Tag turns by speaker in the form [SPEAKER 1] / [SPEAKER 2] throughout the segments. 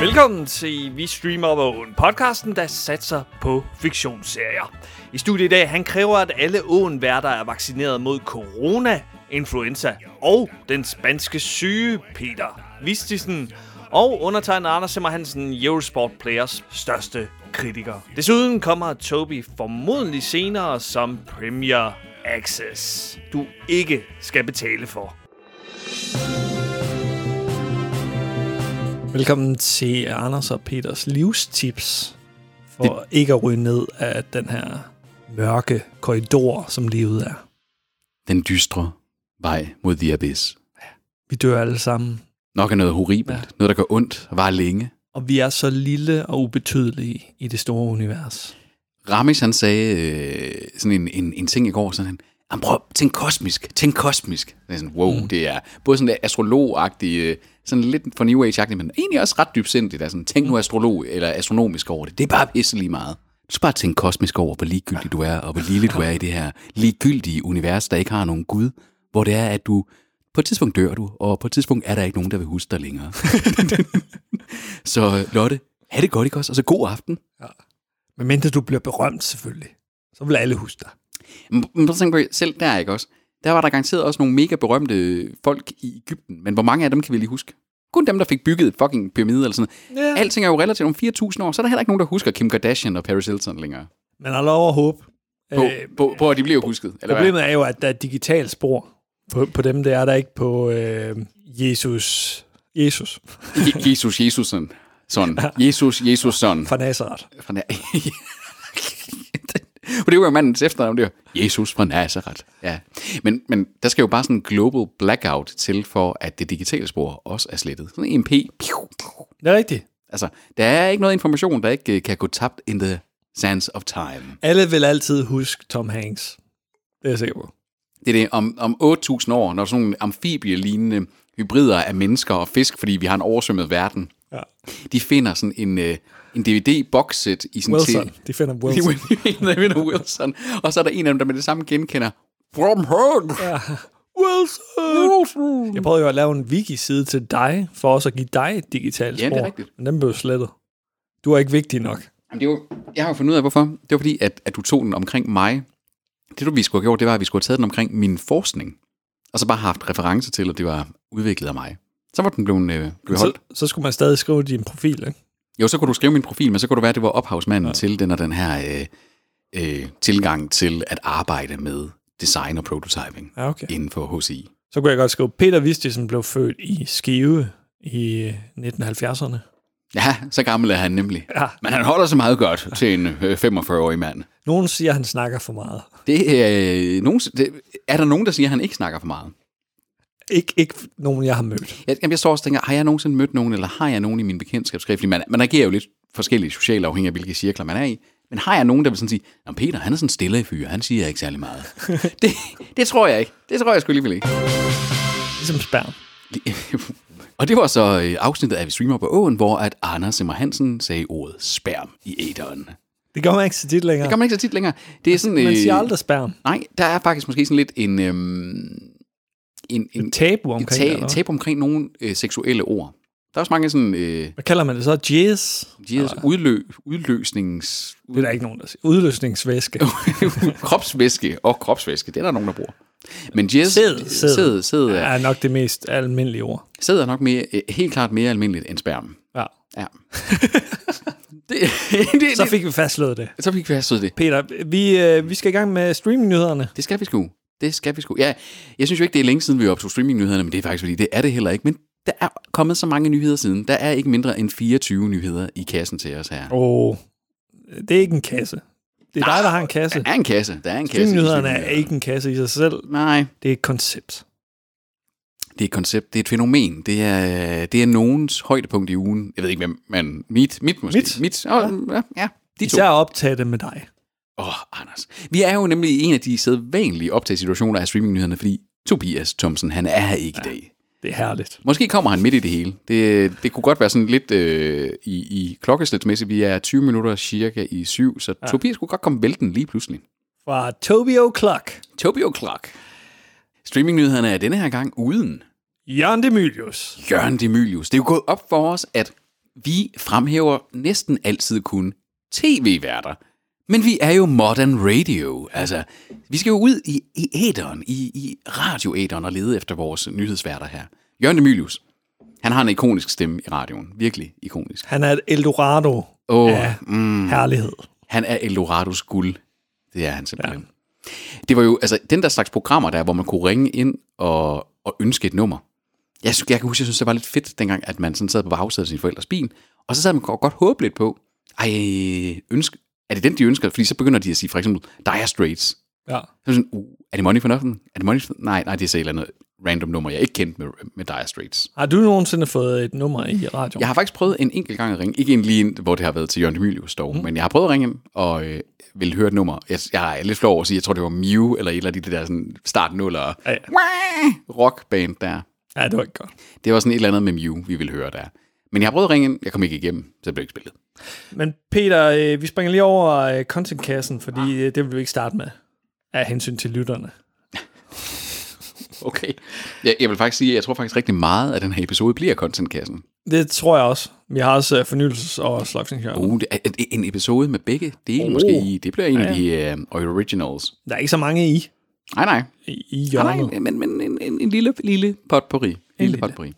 [SPEAKER 1] Velkommen til Vi Streamer over Åen, podcasten, der satser på fiktionsserier. I studiet i dag, han kræver, at alle åen værter er vaccineret mod corona, influenza og den spanske syge, Peter Vistisen. Og undertegnet Anders Simmer Hansen, Eurosport Players største kritiker. Desuden kommer Toby formodentlig senere som Premier Access, du ikke skal betale for.
[SPEAKER 2] Velkommen til Anders og Peters livstips for det... ikke at ryge ned af den her mørke korridor, som livet er.
[SPEAKER 3] den dystre vej mod The Abyss.
[SPEAKER 2] Vi dør alle sammen,
[SPEAKER 3] Nok er noget horribelt,
[SPEAKER 2] Ja.
[SPEAKER 3] ja. noget der gør ondt, var længe.
[SPEAKER 2] og vi er så lille og ubetydelige i det store univers.
[SPEAKER 3] Ramis han sagde øh, sådan en, en, en ting i går, sådan han, "Jamen, prøv, tænk kosmisk, tænk kosmisk. Det er sådan, wow, mm. det er både sådan lidt astrologagtigt, øh, sådan lidt for New Age-agtigt, men egentlig også ret dybsindigt. Altså, tænk nu astrolog eller astronomisk over det. Det er bare pisse lige meget. Du skal bare tænke kosmisk over, hvor ligegyldig du er, og hvor lille du er i det her ligegyldige univers, der ikke har nogen Gud, hvor det er, at du på et tidspunkt dør du, og på et tidspunkt er der ikke nogen, der vil huske dig længere. så øh, Lotte, have det godt, ikke også? Og så god aften.
[SPEAKER 2] Men mindre du bliver berømt selvfølgelig, så vil alle huske dig.
[SPEAKER 3] Men prøv at tænke på, selv der, ikke også? Der var der garanteret også nogle mega berømte folk i Ægypten, men hvor mange af dem kan vi lige huske? Kun dem, der fik bygget fucking pyramider eller sådan noget.
[SPEAKER 2] Ja.
[SPEAKER 3] Yeah. Alting er jo relativt om 4.000 år, så er der heller ikke nogen, der husker Kim Kardashian og Paris Hilton længere.
[SPEAKER 2] Men har lov at håbe.
[SPEAKER 3] På,
[SPEAKER 2] Øh,
[SPEAKER 3] øh, på, på at de bliver husket, eller hvad?
[SPEAKER 2] Problemet er jo, at der er et digitalt spor på, på dem, der er der ikke på øh, Jesus. Jesus
[SPEAKER 3] Je- Jesus, Jesusen. Sådan. Jesus, Jesusen.
[SPEAKER 2] fra Nazareth.
[SPEAKER 3] Fra Na- For det var jo mandens efternavn, det var Jesus fra Nazareth. Ja. Men, men der skal jo bare sådan en global blackout til, for at det digitale spor også er slettet. Sådan en MP. Piu, piu.
[SPEAKER 2] Det er rigtigt.
[SPEAKER 3] Altså, der er ikke noget information, der ikke øh, kan gå tabt in the sands of time.
[SPEAKER 2] Alle vil altid huske Tom Hanks. Det er jeg sikker på.
[SPEAKER 3] Det er det om, om 8.000 år, når sådan nogle amfibielignende hybrider af mennesker og fisk, fordi vi har en oversvømmet verden,
[SPEAKER 2] Ja.
[SPEAKER 3] de finder sådan en, øh, en DVD-boxset i sådan
[SPEAKER 2] Wilson.
[SPEAKER 3] til...
[SPEAKER 2] De finder
[SPEAKER 3] De
[SPEAKER 2] Wilson.
[SPEAKER 3] finder- de finder Wilson. Og så er der en af dem, der med det samme genkender From Home.
[SPEAKER 2] Wilson! Jeg prøvede jo at lave en wiki-side til dig, for også at give dig et digitalt
[SPEAKER 3] Ja, det er
[SPEAKER 2] spor.
[SPEAKER 3] rigtigt.
[SPEAKER 2] Men den blev slettet. Du er ikke vigtig nok.
[SPEAKER 3] Jamen, det er jo, jeg har jo fundet ud af, hvorfor. Det var fordi, at, at du tog den omkring mig. Det, du vi skulle have gjort, det var, at vi skulle have taget den omkring min forskning. Og så bare haft reference til, at det var udviklet af mig. Så var den blevet øh, blevet
[SPEAKER 2] Så,
[SPEAKER 3] holdt.
[SPEAKER 2] så skulle man stadig skrive din profil, ikke?
[SPEAKER 3] Jo, så kunne du skrive min profil, men så kunne du være, at det var ophavsmanden ja. til den og den her øh, øh, tilgang til at arbejde med design og prototyping
[SPEAKER 2] Ja, okay.
[SPEAKER 3] inden for HCI.
[SPEAKER 2] Så kunne jeg godt skrive, Peter Vistisen blev født i Skive i 1970'erne.
[SPEAKER 3] Ja, så gammel er han nemlig.
[SPEAKER 2] Ja.
[SPEAKER 3] Men han holder sig meget godt til en øh, 45-årig mand.
[SPEAKER 2] Nogen siger, at han snakker for meget.
[SPEAKER 3] Det, øh, nogen, det, er der nogen, der siger, at han ikke snakker for meget?
[SPEAKER 2] Ikke, ikke nogen, jeg har mødt.
[SPEAKER 3] Jeg, jamen, jeg står også og tænker, har jeg nogensinde mødt nogen, eller har jeg nogen i min bekendtskabskreds? Fordi man, man agerer jo lidt forskelligt socialt afhængig af, hvilke cirkler man er i. Men har jeg nogen, der vil sådan sige, at Peter, han er sådan stille i fyr, han siger ikke særlig meget. det, det tror jeg ikke. Det tror jeg sgu alligevel ikke.
[SPEAKER 2] Ligesom spærm.
[SPEAKER 3] og det var så øh, afsnittet af Vi Streamer på Åen, hvor at Anders Simmer Hansen sagde ordet sperm i æderen.
[SPEAKER 2] Det gør man ikke så tit længere.
[SPEAKER 3] Det gør man ikke så tit længere. Det er sådan,
[SPEAKER 2] Altså, man
[SPEAKER 3] øh,
[SPEAKER 2] siger aldrig spærm.
[SPEAKER 3] Nej, der er faktisk måske sådan lidt en... Øhm, en, en
[SPEAKER 2] Et tabu omkring det, eller
[SPEAKER 3] tab,
[SPEAKER 2] hvad?
[SPEAKER 3] tab omkring nogle øh, seksuelle ord. Der er også mange sådan... Øh,
[SPEAKER 2] Hvad kalder man det så? Jizz?
[SPEAKER 3] De her udlø, udløsnings...
[SPEAKER 2] Det er der ikke nogen, der siger. Udløsningsvæske.
[SPEAKER 3] kropsvæske og kropsvæske, det er der nogen, der bruger. Men jazz,
[SPEAKER 2] Sæd, sæd.
[SPEAKER 3] Sæd, sæd, er,
[SPEAKER 2] er nok det mest almindelige ord.
[SPEAKER 3] sæd er nok mere, øh, helt klart mere almindeligt end sperm.
[SPEAKER 2] Ja.
[SPEAKER 3] Ja. det, det,
[SPEAKER 2] Så
[SPEAKER 3] så, fik,
[SPEAKER 2] fik vi fastslået det.
[SPEAKER 3] det, så fik vi fastslået det.
[SPEAKER 2] Peter, vi, øh, vi skal i gang med streamingnyhederne.
[SPEAKER 3] Det skal vi sgu. Det skal vi sgu. Ja, jeg synes jo ikke, det er længe siden, vi optog streamingnyhederne, men det er faktisk fordi, det er det heller ikke. Men der er kommet så mange nyheder siden. Der er ikke mindre end 24 nyheder i kassen til os her.
[SPEAKER 2] Åh, oh, det er ikke en kasse. Det er dig, der har en kasse.
[SPEAKER 3] Der er en kasse. Der er en kasse. i
[SPEAKER 2] Streamingnyhederne er ikke en kasse i sig selv.
[SPEAKER 3] Nej,
[SPEAKER 2] Det er et koncept.
[SPEAKER 3] Det er et koncept, det er et fænomen, det er, det er nogens højdepunkt i ugen. Jeg ved ikke hvem, men mit, mit måske.
[SPEAKER 2] Mit?
[SPEAKER 3] mit oh, ja. ja, de to.
[SPEAKER 2] Især at optage det med dig.
[SPEAKER 3] Åh, oh, Anders. Vi er jo nemlig i en af de sædvanlige optagssituationer af streamingnyhederne, fordi Tobias Thomsen, han er her ikke ja. i dag.
[SPEAKER 2] Det er herligt.
[SPEAKER 3] Måske kommer han midt i det hele. Det, det kunne godt være sådan lidt øh, i, i klokkeslætsmæssigt. Vi er 20 minutter cirka i syv, så ja. Tobias kunne godt komme vælten lige pludselig.
[SPEAKER 2] Fra Toby O'Clock.
[SPEAKER 3] Tobio Clark. Streamingnyhederne er denne her gang uden
[SPEAKER 2] Jørgen Demilius.
[SPEAKER 3] Jørgen Demilius. Det er jo gået op for os, at Vi fremhæver næsten altid kun tv-værter. Men vi er jo modern radio. Altså, vi skal jo ud i, i æderen, i, i radioæderen og lede efter vores nyhedsværter her. Jørgen Emilius, han har en ikonisk stemme i radioen. Virkelig ikonisk.
[SPEAKER 2] Han er et Eldorado
[SPEAKER 3] Åh, oh,
[SPEAKER 2] af herlighed.
[SPEAKER 3] Han er Eldorados guld. Det er han simpelthen. Ja. Det var jo, altså, den der slags programmer der, hvor man kunne ringe ind og, og ønske et nummer. Jeg, sy- jeg kan huske, jeg synes, det var lidt fedt dengang, at man sådan sad på bagsædet af sine forældres bil, og så sad man og godt håbe lidt på, ej, ønsk, er det den, de ønsker? Fordi så begynder de at sige, for eksempel, Dire Straits.
[SPEAKER 2] Ja.
[SPEAKER 3] Så er det sådan, uh, er det Money for Nothing? Er det Money for... Nej, nej, det er så et eller andet random nummer, jeg ikke kendte med, med Dire Straits.
[SPEAKER 2] Har du nogensinde fået et nummer i radioen?
[SPEAKER 3] Jeg har faktisk prøvet en enkelt gang at ringe. Ikke en lige ind, hvor det har været til Jørgen Emilius dog, mm. men jeg har prøvet at ringe ind og øh, ville høre et nummer. Jeg, jeg er lidt flov over at sige, jeg tror det var Mew eller et eller andet af de der sådan start nuller
[SPEAKER 2] Ja, ja.
[SPEAKER 3] rockband der.
[SPEAKER 2] ja, det var ikke godt.
[SPEAKER 3] Det var sådan et eller andet med Mew, vi ville høre der. Men jeg har prøvet at ringe ind, jeg kom ikke igennem, så det blev ikke spillet.
[SPEAKER 2] Men Peter, øh, vi springer lige over øh, contentkassen,
[SPEAKER 3] Ah.
[SPEAKER 2] fordi øh, det vil vi ikke starte med af hensyn til lytterne.
[SPEAKER 3] Okay. Jeg, jeg vil faktisk sige, at jeg tror faktisk rigtig meget af den her episode bliver contentkassen.
[SPEAKER 2] Det tror jeg også. Vi har også øh, fornyelses- og slagsindsjørn.
[SPEAKER 3] Uh, det er en- en episode med begge dele oh. måske. i. Det bliver en af de øh, originals.
[SPEAKER 2] Der er ikke så mange i,
[SPEAKER 3] Nej, nej.
[SPEAKER 2] i, i
[SPEAKER 3] Nej,
[SPEAKER 2] hjørnet.
[SPEAKER 3] nej, men, men en, en, en lille, lille potpourri. En lille potpourri.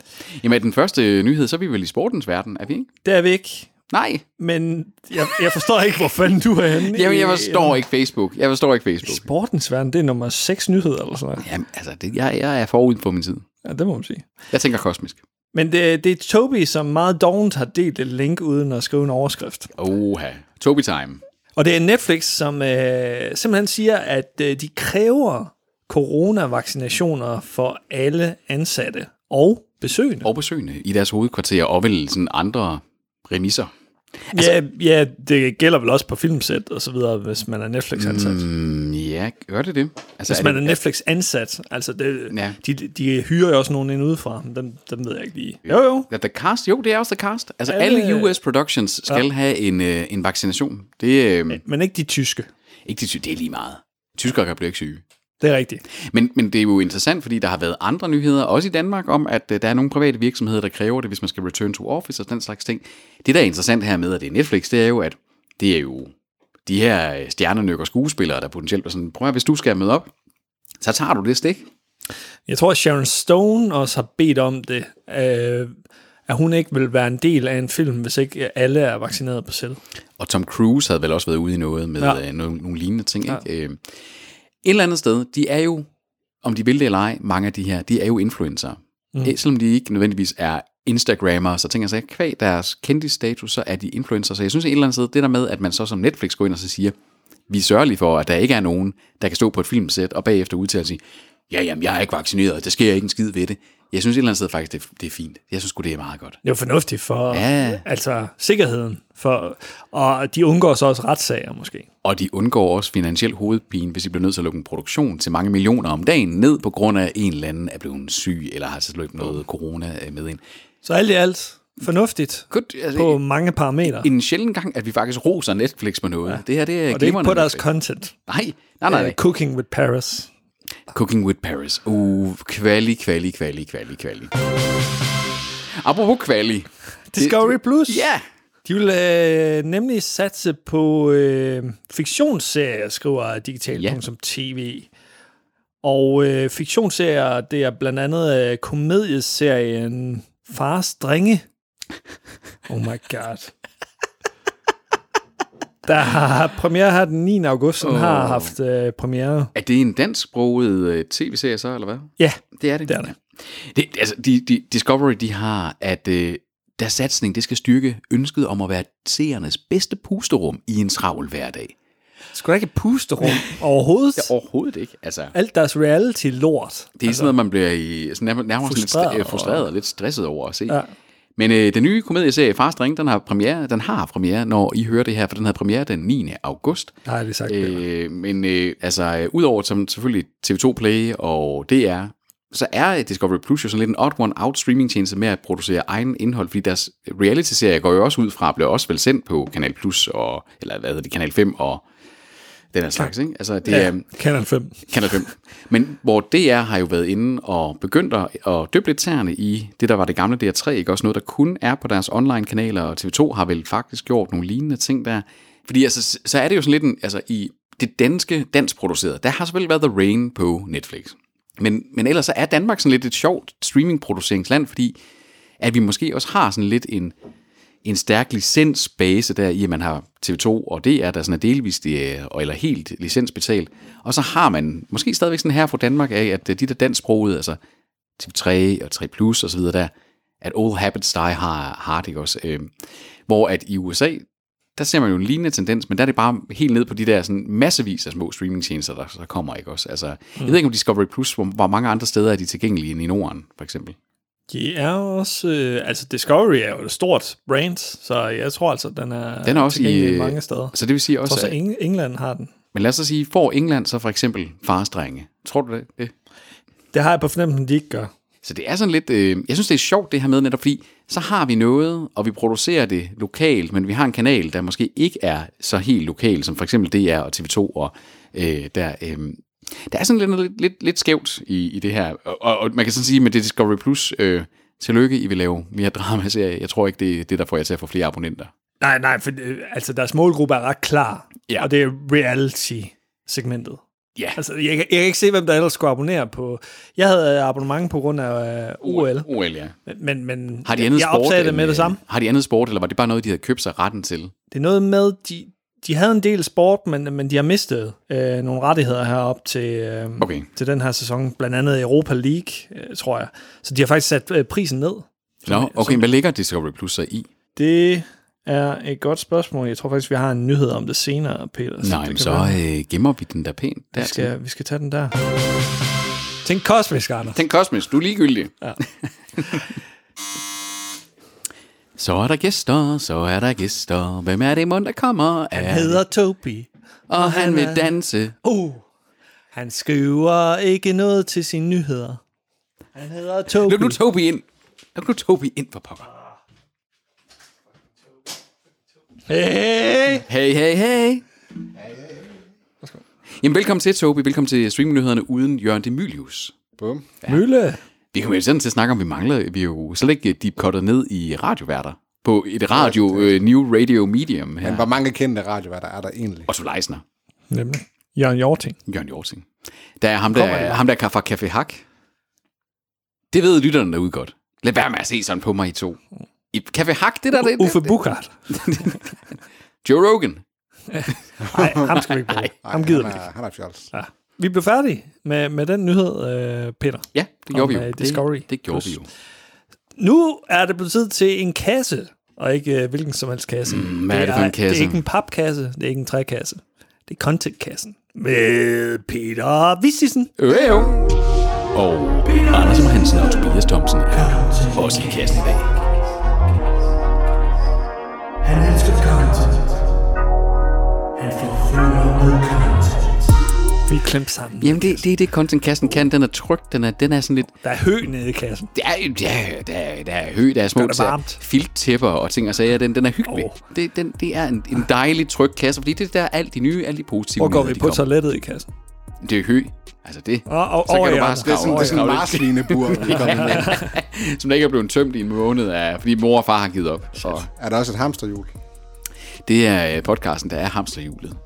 [SPEAKER 3] Jamen, den første nyhed, så er vi vel i sportens verden, er vi ikke?
[SPEAKER 2] Det er vi ikke.
[SPEAKER 3] Nej.
[SPEAKER 2] Men jeg, jeg forstår ikke, hvor fanden du er henne. øh,
[SPEAKER 3] Jamen, jeg forstår ikke Facebook. Jeg forstår ikke Facebook.
[SPEAKER 2] Sportens verden, det er nummer 6 nyheder eller sådan noget.
[SPEAKER 3] Jamen, altså, det, jeg, jeg er forud på min tid.
[SPEAKER 2] Ja, det må man sige.
[SPEAKER 3] Jeg tænker kosmisk.
[SPEAKER 2] Men det, det er Toby, som meget dovent har delt et link uden at skrive en overskrift.
[SPEAKER 3] Oha. Toby Time.
[SPEAKER 2] Og det er Netflix, som øh, simpelthen siger, at øh, de kræver coronavaccinationer for alle ansatte og besøgende.
[SPEAKER 3] Og besøgende i deres hovedkvarter og vel sådan andre remisser.
[SPEAKER 2] Altså, ja, ja, det gælder vel også på filmsæt og så videre, hvis man er Netflix-ansat. Mm,
[SPEAKER 3] Mm, ja, gør det det? Altså,
[SPEAKER 2] hvis
[SPEAKER 3] er
[SPEAKER 2] man er
[SPEAKER 3] det,
[SPEAKER 2] Netflix-ansat, altså det,
[SPEAKER 3] Ja.
[SPEAKER 2] ja. de, de hyrer jo også nogen ind udefra, men dem, dem ved jeg ikke lige. Jo, jo.
[SPEAKER 3] er the cast? Jo, det er også The Cast. Altså,
[SPEAKER 2] Alle-
[SPEAKER 3] alle US Productions skal ja. have en, øh, en vaccination. Det, øh,
[SPEAKER 2] Men ikke de tyske.
[SPEAKER 3] ikke, det, det er lige meget. Tyskere kan blive ikke syge.
[SPEAKER 2] Det er rigtigt.
[SPEAKER 3] Men, men det er jo interessant, fordi der har været andre nyheder, også i Danmark, om at øh, der er nogle private virksomheder, der kræver det, hvis man skal return to office og den slags ting. Det, der er interessant her med, at det er Netflix, det er jo, at det er jo de her øh, stjernenykker skuespillere, der potentielt er sådan, prøv at høre, hvis du skal møde op, så tager du det stik.
[SPEAKER 2] Jeg tror, at Sharon Stone også har bedt om det, øh, at hun ikke vil være en del af en film, hvis ikke alle er vaccineret på selv.
[SPEAKER 3] Og Tom Cruise havde vel også været ude i noget med ja.
[SPEAKER 2] Ja.
[SPEAKER 3] øh, nogle, nogle lignende ting. Ja. Ikke? Øh, et eller andet sted, de er jo, om de vil det eller ej, mange af de her, de er jo influencer. Mm. Selvom de ikke nødvendigvis er Instagrammer, så tænker jeg så, kvæg deres kendte status, så er de influencer. Så jeg synes et eller andet sted, det der med, at man så som Netflix går ind og så siger, vi sørger lige for, at der ikke er nogen, der kan stå på et filmsæt og bagefter udtale og sige, ja, jamen, jeg er ikke vaccineret, der sker ikke en skid ved det. Jeg synes et eller andet sted faktisk, det, det er fint. Jeg synes sgu, det er meget godt.
[SPEAKER 2] Det er jo fornuftigt for
[SPEAKER 3] Ja.
[SPEAKER 2] altså, sikkerheden. For, og de undgår så også retssager måske.
[SPEAKER 3] Og de undgår også finansiel hovedpine, hvis de bliver nødt til at lukke en produktion til mange millioner om dagen ned, på grund af at en eller anden er blevet syg, eller har altså løbet noget corona øh, med ind.
[SPEAKER 2] Så alt i alt fornuftigt
[SPEAKER 3] Godt, altså,
[SPEAKER 2] på mange parametre.
[SPEAKER 3] en sjældent gang, at vi faktisk roser Netflix med noget. Ja. Det her, det er
[SPEAKER 2] Og det er ikke
[SPEAKER 3] glimrende
[SPEAKER 2] på deres
[SPEAKER 3] Netflix.
[SPEAKER 2] content.
[SPEAKER 3] Nej, nej, nej.
[SPEAKER 2] Øh, Cooking with Paris.
[SPEAKER 3] Cooking with Paris. Uh, kvali, kvali, kvali, kvali, kvali. Apropos kvali.
[SPEAKER 2] Discovery Plus.
[SPEAKER 3] Ja,
[SPEAKER 2] De vil øh, nemlig satse på øh, fiktionsserier, skriver digital.tv. Og øh, fiktionsserier, det er blandt andet øh, komedieserien Fars Drenge. Oh my god. Der har premiere her den 9. august, den har haft øh, premiere.
[SPEAKER 3] er det en dansksproget øh, tv-serie så, eller hvad?
[SPEAKER 2] Ja,
[SPEAKER 3] Det er det.
[SPEAKER 2] Det er det.
[SPEAKER 3] det altså, de, de, Discovery, de har, at øh, deres satsning, det skal styrke ønsket om at være seernes bedste pusterum i en travl hverdag.
[SPEAKER 2] skulle da ikke puste rundt overhovedet.
[SPEAKER 3] Overhovedet ikke. Altså, det er
[SPEAKER 2] Alt deres reality-lort.
[SPEAKER 3] altså, sådan noget, man bliver i, sådan nærmere, nærmere frustreret,
[SPEAKER 2] Frustreret
[SPEAKER 3] lidt, øh, frustreret
[SPEAKER 2] over.
[SPEAKER 3] og lidt stresset over at se. Ja.
[SPEAKER 2] Ja.
[SPEAKER 3] Men øh, den nye komedieserie Fars Dreng, den har premiere, den har premiere, når I hører det her, for den havde premiere den 9. august.
[SPEAKER 2] Nej, det er sagt. Øh,
[SPEAKER 3] Øh, men øh, altså, øh, udover som selvfølgelig TV2 Play og DR, så er Discovery Plus jo sådan lidt en odd one out streamingtjeneste med at producere egen indhold, fordi deres reality-serie går jo også ud fra, bliver også vel sendt på Kanal Plus, og, eller hvad hedder det, Kanal 5 og den her slags. Ikke? Altså, det ja. er
[SPEAKER 2] Canon 5.
[SPEAKER 3] Kanal 5. Men hvor DR har jo været inde og begyndt at, at dyppe lidt tæerne i det, der var det gamle DR3, ikke? også noget, der kun er på deres online-kanaler, og TV2 har vel faktisk gjort nogle lignende ting der. Fordi altså, så er det jo sådan lidt, en, altså i det danske dansproducerede, der har selvfølgelig været The Rain på Netflix. Men, men ellers så er Danmark sådan lidt et sjovt streamingproduceringsland, fordi at vi måske også har sådan lidt en, en stærk licensbase der i, at man har TV2 og DR, der sådan er delvist øh, og- eller helt licensbetalt. Og så har man måske stadigvæk sådan her fra Danmark af, at øh, de der dansksprogede, altså TV3 og 3 Plus og så videre der, at old habits die har hard, ikke også? Øh, hvor at i USA, der ser man jo en lignende tendens, men der er det bare helt ned på de der sådan massevis af små streamingtjenester, der så kommer, ikke også? Altså, jeg ved ikke om Discovery Plus, hvor, hvor mange andre steder er de tilgængelige end i Norden, for eksempel.
[SPEAKER 2] De er også... Øh, altså, Discovery er jo et stort brand, så jeg tror altså, den er,
[SPEAKER 3] Den er også i...
[SPEAKER 2] tilgængelig
[SPEAKER 3] øh,
[SPEAKER 2] mange steder.
[SPEAKER 3] Så det vil sige
[SPEAKER 2] Jeg tror
[SPEAKER 3] også,
[SPEAKER 2] så
[SPEAKER 3] at-
[SPEAKER 2] Eng- England har den.
[SPEAKER 3] Men lad os så sige, får England så for eksempel farsdrenge? Tror du det? det?
[SPEAKER 2] Det har jeg på fornemmelsen, de ikke gør.
[SPEAKER 3] Så det er sådan lidt, øh, jeg synes det er sjovt det her med netop, fordi så har vi noget, og vi producerer det lokalt, men vi har en kanal, der måske ikke er så helt lokal, som for eksempel DR og TV2 og øh, der... Øh, der er sådan lidt, lidt, lidt, lidt skævt i, i det her, og, og, og man kan sådan sige med det Discovery Plus, øh, tillykke, I vil lave mere dramaserie. Jeg tror ikke, det er det, der får jer til at få flere abonnenter.
[SPEAKER 2] Nej, nej, for øh, altså, deres målgruppe er ret klar,
[SPEAKER 3] Ja.
[SPEAKER 2] og det er reality-segmentet.
[SPEAKER 3] Ja.
[SPEAKER 2] Altså, jeg, kan- jeg kan ikke se, hvem der ellers skulle abonnere på... Jeg havde abonnement på grund af øh, OL,
[SPEAKER 3] OL, ja.
[SPEAKER 2] men, men
[SPEAKER 3] Har de andet
[SPEAKER 2] jeg
[SPEAKER 3] sport?
[SPEAKER 2] opsagde det
[SPEAKER 3] end,
[SPEAKER 2] med
[SPEAKER 3] øh,
[SPEAKER 2] det samme.
[SPEAKER 3] Har de andet sport, eller var det bare noget, de havde købt sig retten til?
[SPEAKER 2] Det er noget med, de, de havde en del sport, men, men de har mistet øh, nogle rettigheder herop til, øh,
[SPEAKER 3] Okay.
[SPEAKER 2] til den her sæson, blandt andet Europa League, øh, tror jeg. Så de har faktisk sat øh, prisen ned.
[SPEAKER 3] Nå, okay, hvad ligger Discovery Plus så i?
[SPEAKER 2] Det er et godt spørgsmål. Jeg tror faktisk, vi har en nyhed om det senere, Peter.
[SPEAKER 3] Så
[SPEAKER 2] det
[SPEAKER 3] Nej, men
[SPEAKER 2] kan
[SPEAKER 3] så
[SPEAKER 2] være,
[SPEAKER 3] øh, gemmer vi den der pænt. Der.
[SPEAKER 2] vi, skal, vi skal tage den der. Tænk kosmisk, Anders.
[SPEAKER 3] Tænk kosmisk, du er ligegyldig.
[SPEAKER 2] Ja.
[SPEAKER 3] så er der gæster, så er der gæster. Hvem er det mund, der kommer? Han
[SPEAKER 2] Hedder Toby.
[SPEAKER 3] og han vil
[SPEAKER 2] er-
[SPEAKER 3] danse.
[SPEAKER 2] Uh, han skriver ikke noget til sine nyheder. Han hedder Toby.
[SPEAKER 3] Løb nu Tobi ind. Løb nu Tobi ind for pokker.
[SPEAKER 2] Hey!
[SPEAKER 3] Hey, hey, hey. Jamen, velkommen til, Tobi. Velkommen til streamingnyhederne uden Jørgen Demilius.
[SPEAKER 4] Bum.
[SPEAKER 2] Mølle.
[SPEAKER 3] Vi kommer jo sådan til at snakke om, vi mangler, vi er jo slet ikke øh, deep ned i radioværter på et radio, øh, new radio medium
[SPEAKER 4] Men
[SPEAKER 3] her.
[SPEAKER 4] hvor mange kendte radioværer er der egentlig?
[SPEAKER 3] Otto Leisner.
[SPEAKER 2] Nemlig. Jørgen Jorting.
[SPEAKER 3] Jørgen Jorting. Der er ham der, ham der fra Café Hak. Det ved lytterne derude godt. Lad være med at se sådan på mig i to. I Café Hak, det der, det,
[SPEAKER 2] Uffe
[SPEAKER 3] det,
[SPEAKER 2] Bukart.
[SPEAKER 3] Joe Rogan.
[SPEAKER 2] Nej, ham skal vi ikke bruge. Ham gider vi
[SPEAKER 4] han
[SPEAKER 2] ikke.
[SPEAKER 4] er, han er fjols.
[SPEAKER 2] Ja. Vi blev færdige med, med den nyhed, øh, Peter.
[SPEAKER 3] Ja, det gjorde vi
[SPEAKER 2] øh,
[SPEAKER 3] jo.
[SPEAKER 2] Discovery
[SPEAKER 3] Det, det gjorde
[SPEAKER 2] Plus.
[SPEAKER 3] vi jo.
[SPEAKER 2] Nu er det blevet tid til en kasse, og ikke øh, hvilken som helst kasse. Mm,
[SPEAKER 3] hvad er det for en
[SPEAKER 2] Det
[SPEAKER 3] kasse?
[SPEAKER 2] er ikke en papkasse, det er ikke en trækasse. Det er contentkassen. Med Peter Vistisen.
[SPEAKER 3] Øh, jo. Og Anders Hansen og Tobias Thomsen er også i kassen i dag.
[SPEAKER 5] Han elsker content. Han forfører med content.
[SPEAKER 2] Vi er klemt sammen.
[SPEAKER 3] Jamen, det, det er det, contentkassen kan. Den er tryg, den er, den er sådan lidt...
[SPEAKER 2] Der er hø nede i kassen.
[SPEAKER 3] Det er, ja, der, er- der er hø, der er små
[SPEAKER 2] Gør det varmt.
[SPEAKER 3] tæer, filttæpper og ting og sager. Den, den er hyggelig.
[SPEAKER 2] Åh.
[SPEAKER 3] Oh. Det, den, det er en, en dejlig tryg kasse, fordi det er der alt de nye, alt de positive.
[SPEAKER 2] Hvor går vi
[SPEAKER 3] nyheder, de
[SPEAKER 2] på
[SPEAKER 3] kommer.
[SPEAKER 2] toilettet i kassen?
[SPEAKER 3] Det er hø. Altså det.
[SPEAKER 2] Og, og,
[SPEAKER 3] Så
[SPEAKER 2] over
[SPEAKER 3] kan
[SPEAKER 2] i
[SPEAKER 3] du bare
[SPEAKER 2] ærmet.
[SPEAKER 4] Det er sådan,
[SPEAKER 3] Åh,
[SPEAKER 4] det er sådan en
[SPEAKER 3] ja.
[SPEAKER 4] marsvinebur, der er kommet ind.
[SPEAKER 3] Som der ikke er blevet tømt i en måned, af, fordi mor og far har givet op. Så
[SPEAKER 4] Er der også et hamsterhjul?
[SPEAKER 3] det er øh, podcasten, der er hamsterhjulet.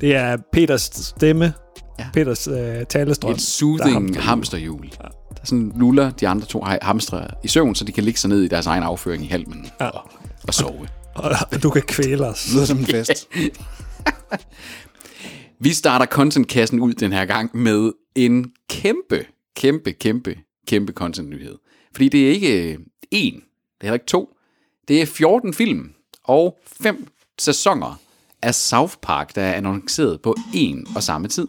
[SPEAKER 2] Det er Peters stemme.
[SPEAKER 3] Ja.
[SPEAKER 2] Peters øh, talestrøm.
[SPEAKER 3] Et
[SPEAKER 2] der er ham.
[SPEAKER 3] soothing hamsterhjul. Der sådan luller de andre to he- hamstre i søvn, så de kan ligge sig ned i deres egen afføring i halmen
[SPEAKER 2] Ja.
[SPEAKER 3] og, og sove.
[SPEAKER 2] Og, og du kan kvæle os.
[SPEAKER 4] Det lyder som en fest.
[SPEAKER 3] Vi starter contentkassen ud den her gang med en kæmpe, kæmpe, kæmpe, kæmpe contentnyhed. Fordi det er ikke øh, én, det er heller ikke to. Det er 14 film og 5 sæsoner af South Park, der er annonceret på én og samme tid.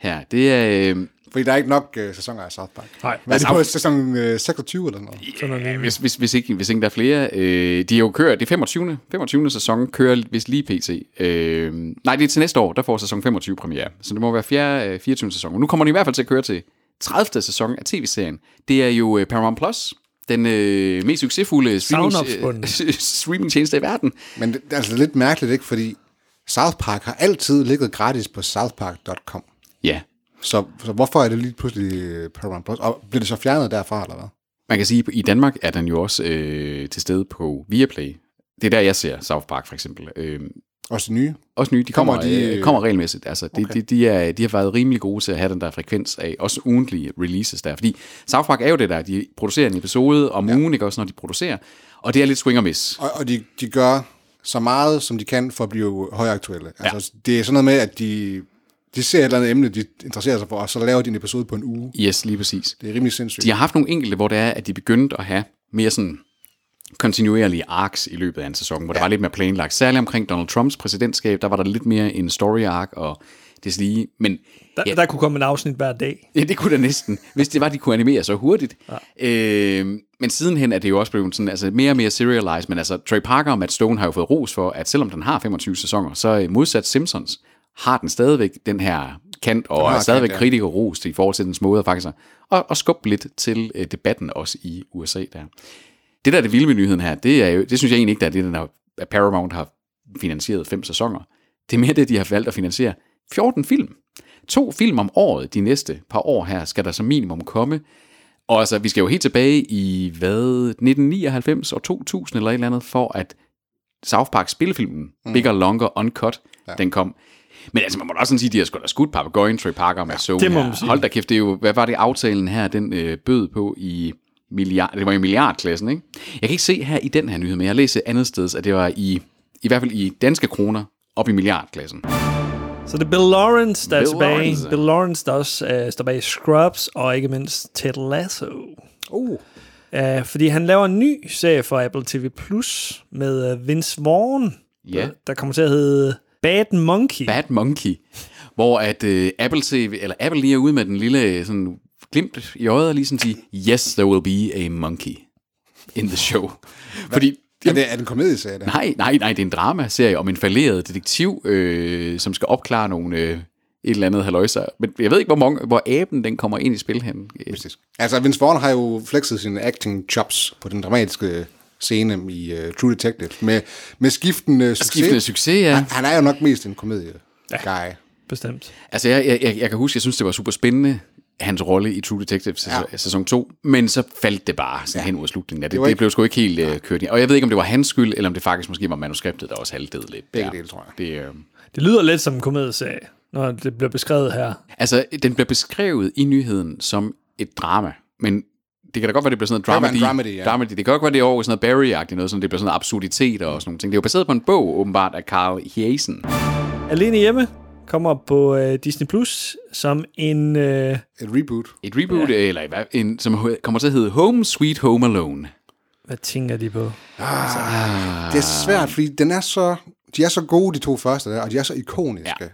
[SPEAKER 3] Her, det er... Øh,
[SPEAKER 4] Fordi der er ikke nok øh, sæsoner af South Park.
[SPEAKER 2] Nej. Altså,
[SPEAKER 4] Hvad er det på sæson øh, 26 eller noget?
[SPEAKER 3] Ja, hvis, hvis, hvis, ikke, hvis ikke der er flere. Øh, de er jo kører, det er 25. 25. sæson kører hvis lige pt. Øh, nej, det er til næste år, der får sæson 25 premiere. Så det må være fjerde, øh, 24. sæson. Og nu kommer de i hvert fald til at køre til 30. sæson af tv-serien. Det er jo øh, Paramount+, Plus, den øh, mest succesfulde streaming,
[SPEAKER 2] Savnomsbunden.
[SPEAKER 3] streamingtjeneste i verden.
[SPEAKER 4] Men det, det er altså lidt mærkeligt, ikke? Fordi South Park har altid ligget gratis på southpark.com.
[SPEAKER 3] Ja.
[SPEAKER 4] Så, så hvorfor er det lige pludselig øh, Paramount Plus? Og bliver det så fjernet derfra, eller hvad?
[SPEAKER 3] Man kan sige, at i Danmark er den jo også øh, til stede på Viaplay. Det er der, jeg ser South Park for eksempel. Øh,
[SPEAKER 4] Også det nye?
[SPEAKER 3] også nye, de kommer, kommer,
[SPEAKER 4] Kommer de,
[SPEAKER 3] de, øh,
[SPEAKER 4] øh,
[SPEAKER 3] kommer regelmæssigt. Altså, de, okay. de, de, er, de har været rimelig gode til at have den der frekvens af, også ugentlige releases der. Fordi South Park er jo det der, de producerer en episode om ja. ugen, ikke også, når de producerer. Og det er lidt swing og miss.
[SPEAKER 4] Og, og de, de gør så meget, som de kan, for at blive højaktuelle. Altså, ja. Det er sådan noget med, at de, de ser et eller andet emne, de interesserer sig for, og så laver de en episode på en uge.
[SPEAKER 3] Yes, lige præcis.
[SPEAKER 4] Det er rimelig sindssygt.
[SPEAKER 3] De har haft nogle enkelte, hvor det er, at de begyndte at have mere sådan kontinuerlige arcs i løbet af en sæson, hvor ja. der var lidt mere planlagt. Særligt omkring Donald Trumps præsidentskab, der var der lidt mere en story arc og det lige. Men
[SPEAKER 2] Der,
[SPEAKER 3] Ja.
[SPEAKER 2] der kunne komme en afsnit hver dag.
[SPEAKER 3] Ja, det kunne da næsten, hvis det var, de kunne animere så hurtigt. Ja. Øh, men sidenhen er det jo også blevet sådan, altså mere og mere serialized, men altså Trey Parker og Matt Stone har jo fået ros for, at selvom den har 25 sæsoner, så øh, modsat Simpsons har den stadigvæk den her kant, og
[SPEAKER 4] har
[SPEAKER 3] er stadigvæk
[SPEAKER 4] kant, ja.
[SPEAKER 3] kritiker rost i forhold til dens måde faktisk at- og, og skubbe lidt til øh, debatten også i USA der. Det der er det vilde med nyheden her, det, er jo, det synes jeg egentlig ikke, der er det, den har, at Paramount har finansieret fem sæsoner. Det er mere det, de har valgt at finansiere 14 film. To film om året de næste par år her skal der som minimum komme. Og altså, vi skal jo helt tilbage i, hvad, 1999 og 2000 eller et eller andet, for at South Park spillefilmen, mm. Bigger, Longer, Uncut, ja. den kom. Men altså, man må da også sådan sige, at de har sgu da skudt Papagøjen, Trey Parker med ja,
[SPEAKER 2] det må man sige.
[SPEAKER 3] Hold da kæft, det er jo, hvad var det aftalen her, den øh, bød på i milliard, det var i milliardklassen, ikke? Jeg kan ikke se her i den her nyhed, men jeg læste andet sted, at det var i, i hvert fald i danske kroner, op i milliardklassen.
[SPEAKER 2] Så det er Bill Lawrence, der Bill er
[SPEAKER 3] Bill
[SPEAKER 2] tilbage.
[SPEAKER 3] Lawrence.
[SPEAKER 2] Lawrence. Bill Lawrence, der også uh, står bag Scrubs, og ikke mindst Ted Lasso.
[SPEAKER 4] Uh.
[SPEAKER 2] Uh, fordi han laver en ny serie for Apple TV Plus med uh, Vince Vaughn,
[SPEAKER 3] Ja.
[SPEAKER 2] der, der kommer til at hedde Bad Monkey.
[SPEAKER 3] Bad Monkey, hvor at øh, Apple TV, eller Apple lige er ude med den lille øh, sådan glimt i øjet og lige sådan sige, yes, there will be a monkey in the show. Fordi
[SPEAKER 4] er, det, er den komedieserie der?
[SPEAKER 3] Nej, nej, nej, det er en dramaserie om en falderet detektiv, øh, som skal opklare nogle øh, et eller andet haløjser. Men jeg ved ikke, hvor, mange, hvor aben den kommer ind i spil hen. Øh,
[SPEAKER 4] Fantastisk. Altså, Vince Vaughn har jo flexet sine acting chops på den dramatiske scene i uh, True Detective med, med skiftende succes.
[SPEAKER 3] Skiftende succes, ja.
[SPEAKER 4] Han, han er jo nok mest en komedie-guy. Ja.
[SPEAKER 2] Bestemt.
[SPEAKER 3] Altså, jeg, jeg, jeg, jeg kan huske, jeg synes, det var super spændende, hans rolle i True Detective sæson, ja. sæson 2, men så faldt det bare sådan ja. hen ud af slutningen. Ja, det,
[SPEAKER 4] Det
[SPEAKER 3] det,
[SPEAKER 4] var
[SPEAKER 3] det
[SPEAKER 4] ikke-
[SPEAKER 3] blev sgu ikke helt øh, kørt i. Og jeg ved ikke, om det var hans skyld, eller om det faktisk måske var manuskriptet, der også haltede lidt.
[SPEAKER 4] Begge
[SPEAKER 3] der.
[SPEAKER 4] dele, tror jeg.
[SPEAKER 3] Det, øh...
[SPEAKER 2] Det lyder lidt som en komedieserie, når det bliver beskrevet her.
[SPEAKER 3] Altså, den bliver beskrevet i nyheden som et drama, men det kan da godt være, det bliver sådan
[SPEAKER 4] Det
[SPEAKER 3] noget
[SPEAKER 4] var en
[SPEAKER 3] dramedy.
[SPEAKER 4] dramedy, ja.
[SPEAKER 3] dramedy. Det kan godt være, det er over i sådan noget barry noget, sådan, det bliver sådan noget absurditet og sådan nogle ting. Det er jo baseret på en bog, åbenbart, af Carl Hiesen.
[SPEAKER 2] Alene hjemme kommer på uh, Disney Plus som en... Uh,
[SPEAKER 4] Et reboot.
[SPEAKER 3] Et reboot, ja. eller hvad, en, som hed- kommer til at hedde Home Sweet Home Alone.
[SPEAKER 2] hvad tænker de på?
[SPEAKER 3] Ah.
[SPEAKER 4] Det er svært, fordi den er så, de er så gode, de to første der, og de er så ikoniske. Ja.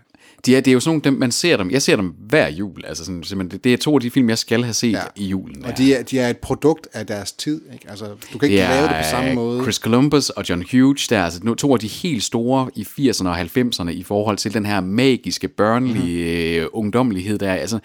[SPEAKER 3] De er, det er jo sådan nogle, dem, man ser dem. Jeg ser dem hver jul. Altså sådan, simpelthen, det, det er to af de film, jeg skal have set ja. i julen.
[SPEAKER 4] Og de er, de er et produkt af deres tid. Ikke? Altså, du kan ikke ja, lave det på samme måde.
[SPEAKER 3] øh, Chris Columbus og John Hughes, der er altså nu- to af de helt store i 80'erne og 90'erne i forhold til den her magiske,
[SPEAKER 4] Mhm.
[SPEAKER 3] børnlige mm. ungdommelighed, der er. Altså,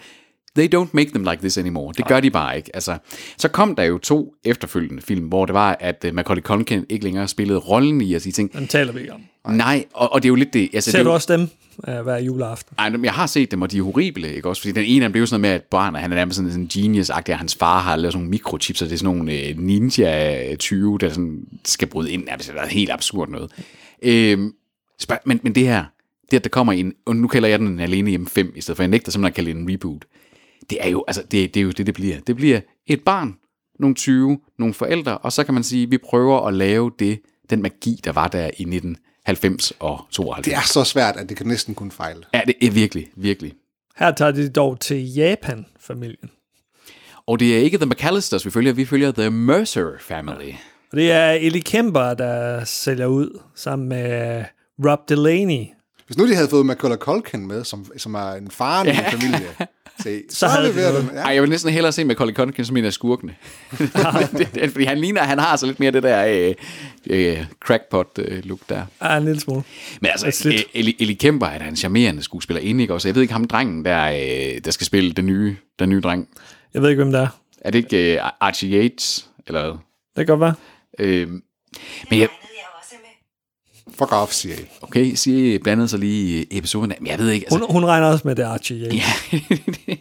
[SPEAKER 3] they don't make them like this anymore. Det gør de bare ikke. Altså, så kom der jo to efterfølgende film, hvor det var, at øh, Macaulay Culkin ikke længere spillede rollen i, og sige ting.
[SPEAKER 2] Den taler vi ikke om.
[SPEAKER 3] Nej, og, og det er jo lidt det. Altså, det
[SPEAKER 2] Ser
[SPEAKER 3] er
[SPEAKER 2] du
[SPEAKER 3] jo,
[SPEAKER 2] også dem uh, hver juleaften?
[SPEAKER 3] ej, men jeg har set dem, og de er horrible, ikke også? Fordi den ene, han blev sådan noget med, at barn, og han er nærmest sådan en genius-agtig, og hans far har lavet sådan nogle mikrochips, og det er sådan nogle øh, ninja-tyve, der sådan skal bryde ind. Ja, det er helt absurd noget. Øhm, spørg- men, men det her, det at der kommer en, og nu kalder jeg den en alene hjemme 5, i stedet for jeg nægter simpelthen at kalde det en reboot. Det er jo, altså, det, det er jo det, det bliver. Det bliver et barn, nogle 20, nogle forældre, og så kan man sige, at vi prøver at lave det, den magi, der var der i 1990 og 92.
[SPEAKER 4] Det er så svært, at det kan næsten kun fejle.
[SPEAKER 3] Ja, det er virkelig, virkelig.
[SPEAKER 2] Her tager de dog til Japan-familien.
[SPEAKER 3] Og det er ikke The McAllisters, vi følger. Vi følger The Mercer Family.
[SPEAKER 2] Og det er Ellie Kemper, der sælger ud sammen med Rob Delaney.
[SPEAKER 4] Hvis nu de havde fået Macaulay Culkin med, som, som er en far i en familie, se, så, så
[SPEAKER 2] havde
[SPEAKER 4] havde det
[SPEAKER 2] de
[SPEAKER 4] været
[SPEAKER 2] noget.
[SPEAKER 4] den. Ja.
[SPEAKER 3] Ej, jeg vil næsten hellere se med Colin Conkin som en af skurkene. det, det, fordi han ligner, han har altså lidt mere det der øh, øh, crackpot-look der.
[SPEAKER 2] Ah, en lille smule.
[SPEAKER 3] Men altså,
[SPEAKER 2] Lidt.
[SPEAKER 3] øh, Ellie, Ellie Kemper er da en charmerende skuespiller inde, ikke også? Jeg ved ikke, ham drengen, der, øh, der skal spille den nye, den nye dreng.
[SPEAKER 2] Jeg ved ikke, hvem der er.
[SPEAKER 3] Er det ikke øh, Archie Yates, eller hvad?
[SPEAKER 2] Det kan godt være.
[SPEAKER 3] Øh, men jeg,
[SPEAKER 6] Andet, jeg også er med.
[SPEAKER 4] Fuck off, siger I.
[SPEAKER 3] Okay, CIA blandede sig lige i episoden. af- Men jeg ved ikke, altså...
[SPEAKER 2] Hun, hun regner også med det, er Archie. Ja.
[SPEAKER 3] Ja,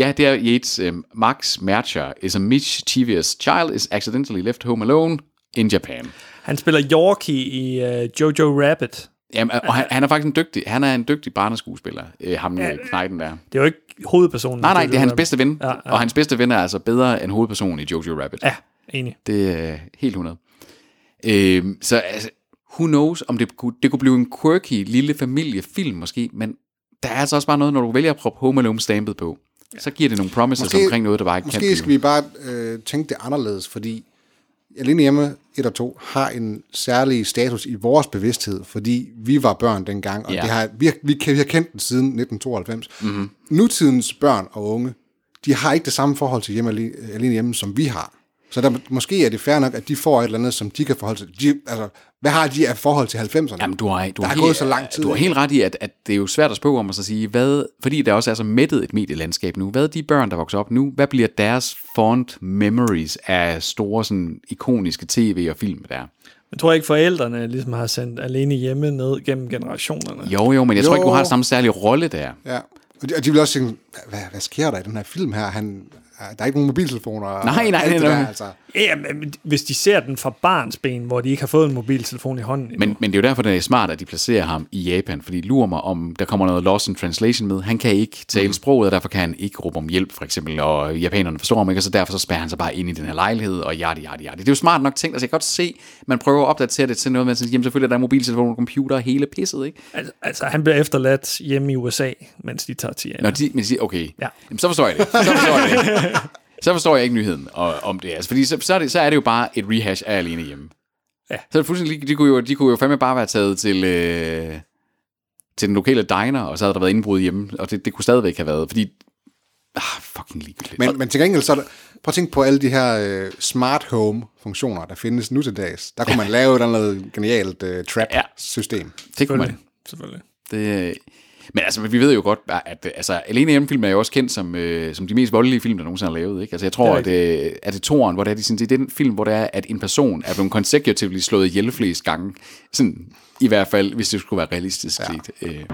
[SPEAKER 3] ja det er Yates. øhm, Max Mercher is a mischievous child is accidentally left home alone in Japan.
[SPEAKER 2] Han spiller Yorkie i øh, Jojo Rabbit.
[SPEAKER 3] Jamen, og han, han er faktisk en dygtig, han er en dygtig barneskuespiller, øh, ham ja. Knighten der.
[SPEAKER 2] Det er jo ikke hovedpersonen. i
[SPEAKER 3] Nej, nej,
[SPEAKER 2] Jojo
[SPEAKER 3] det er hans
[SPEAKER 2] Rabbit.
[SPEAKER 3] bedste ven, ja,
[SPEAKER 2] Ja,
[SPEAKER 3] ja.
[SPEAKER 2] ja.
[SPEAKER 3] og hans bedste ven er altså bedre end hovedpersonen i Jojo Rabbit.
[SPEAKER 2] Ja, enig.
[SPEAKER 3] Det er helt 100. Øhm, så altså, who knows, om det kunne, det kunne blive en quirky lille familiefilm måske, men der er altså også bare noget, når du vælger at proppe Home Alone-stampet på, så giver det nogle promises måske, omkring noget, der bare ikke kan
[SPEAKER 4] Måske skal vi bare øh, tænke det anderledes, fordi alene hjemme 1 og 2 har en særlig status i vores bevidsthed, fordi vi var børn dengang, og
[SPEAKER 3] Ja. Mhm.
[SPEAKER 4] ja. det har, vi, har, vi, kan, vi har kendt den siden 1992. Mm-hmm. Nutidens børn og unge, de har ikke det samme forhold til hjemme alene, alene hjemme, som vi har. Så der, måske er det fair nok, at de får et eller andet, som de kan forholde sig til. De, altså, hvad har de af forhold til 90'erne?
[SPEAKER 3] Jamen, du har, du
[SPEAKER 4] Der
[SPEAKER 3] har
[SPEAKER 4] er
[SPEAKER 3] helt,
[SPEAKER 4] gået så lang tid,
[SPEAKER 3] Du har
[SPEAKER 4] ikke?
[SPEAKER 3] helt ret i, at, at det er jo svært at spå om at så sige, hvad, fordi der også er så mættet et medielandskab nu. Hvad de børn, der vokser op nu, hvad bliver deres fond memories af store, sådan, ikoniske tv og film der?
[SPEAKER 2] Jeg tror ikke, forældrene ligesom har sendt alene hjemme ned gennem generationerne.
[SPEAKER 3] Jo, jo, men jeg jo. tror ikke, du har
[SPEAKER 4] Jo.
[SPEAKER 3] samme særlige rolle der.
[SPEAKER 4] Ja. Og de, og de vil også tænke, "Hva- hvad, hvad sker der i den her film her? Han, der er ikke nogen mobiltelefoner. og
[SPEAKER 3] Nej, nej,
[SPEAKER 4] alt det
[SPEAKER 3] nej,
[SPEAKER 4] der,
[SPEAKER 3] nej.
[SPEAKER 4] altså.
[SPEAKER 2] Ja, men hvis de ser den fra barns ben, hvor de ikke har fået en mobiltelefon i hånden endnu.
[SPEAKER 3] Men, men det er jo derfor, det er smart, at de placerer ham i Japan, fordi lurer mig, om der kommer noget loss in translation med. Han kan ikke tale mm. sproget, og derfor kan han ikke råbe om hjælp, for eksempel, og japanerne forstår ham ikke, og så derfor så spærrer han sig bare ind i den her lejlighed, og yadi, yadi, yadi. Det er jo smart nok tænkt, altså jeg kan godt se, man prøver at opdatere det til noget, man siger, jamen selvfølgelig er der mobiltelefoner, computer, hele pisset, ikke?
[SPEAKER 2] Altså, altså, han bliver efterladt hjemme i USA, mens de tager til
[SPEAKER 3] Når
[SPEAKER 2] Japan.
[SPEAKER 3] de, men de siger, okay, ja.
[SPEAKER 2] Ja.
[SPEAKER 3] jamen, så forstår jeg det. Så forstår jeg det. Så forstår jeg ikke nyheden og, om det. Altså, fordi så, så, er det, så er det jo bare et rehash af alene hjemme.
[SPEAKER 2] Ja.
[SPEAKER 3] Så er det fuldstændig, lige- de kunne jo, de kunne jo fandme bare være taget til, øh, til den lokale diner, og så havde der været indbrud hjemme, og det, det kunne stadigvæk have været, fordi... Ah, fucking ligegyldigt.
[SPEAKER 4] Men, men til gengæld, så er der, prøv at tænke på alle de her øh, smart home-funktioner, der findes nu til dags. Der kunne man lave et eller andet genialt øh, trap-system.
[SPEAKER 3] det kunne man.
[SPEAKER 2] Selvfølgelig.
[SPEAKER 3] Det, men altså, vi ved jo godt, at altså, alene hjemmefilm er jo også kendt som, øh, som de mest voldelige film, der nogensinde har lavet. Ikke? Altså, jeg tror, at, øh, at det er toren, hvor det er, de, sådan, det er den film, hvor det er, at en person er blevet consecutively slået ihjel flest gange. Sådan, I hvert fald, hvis det skulle være realistisk ja. set. Øh,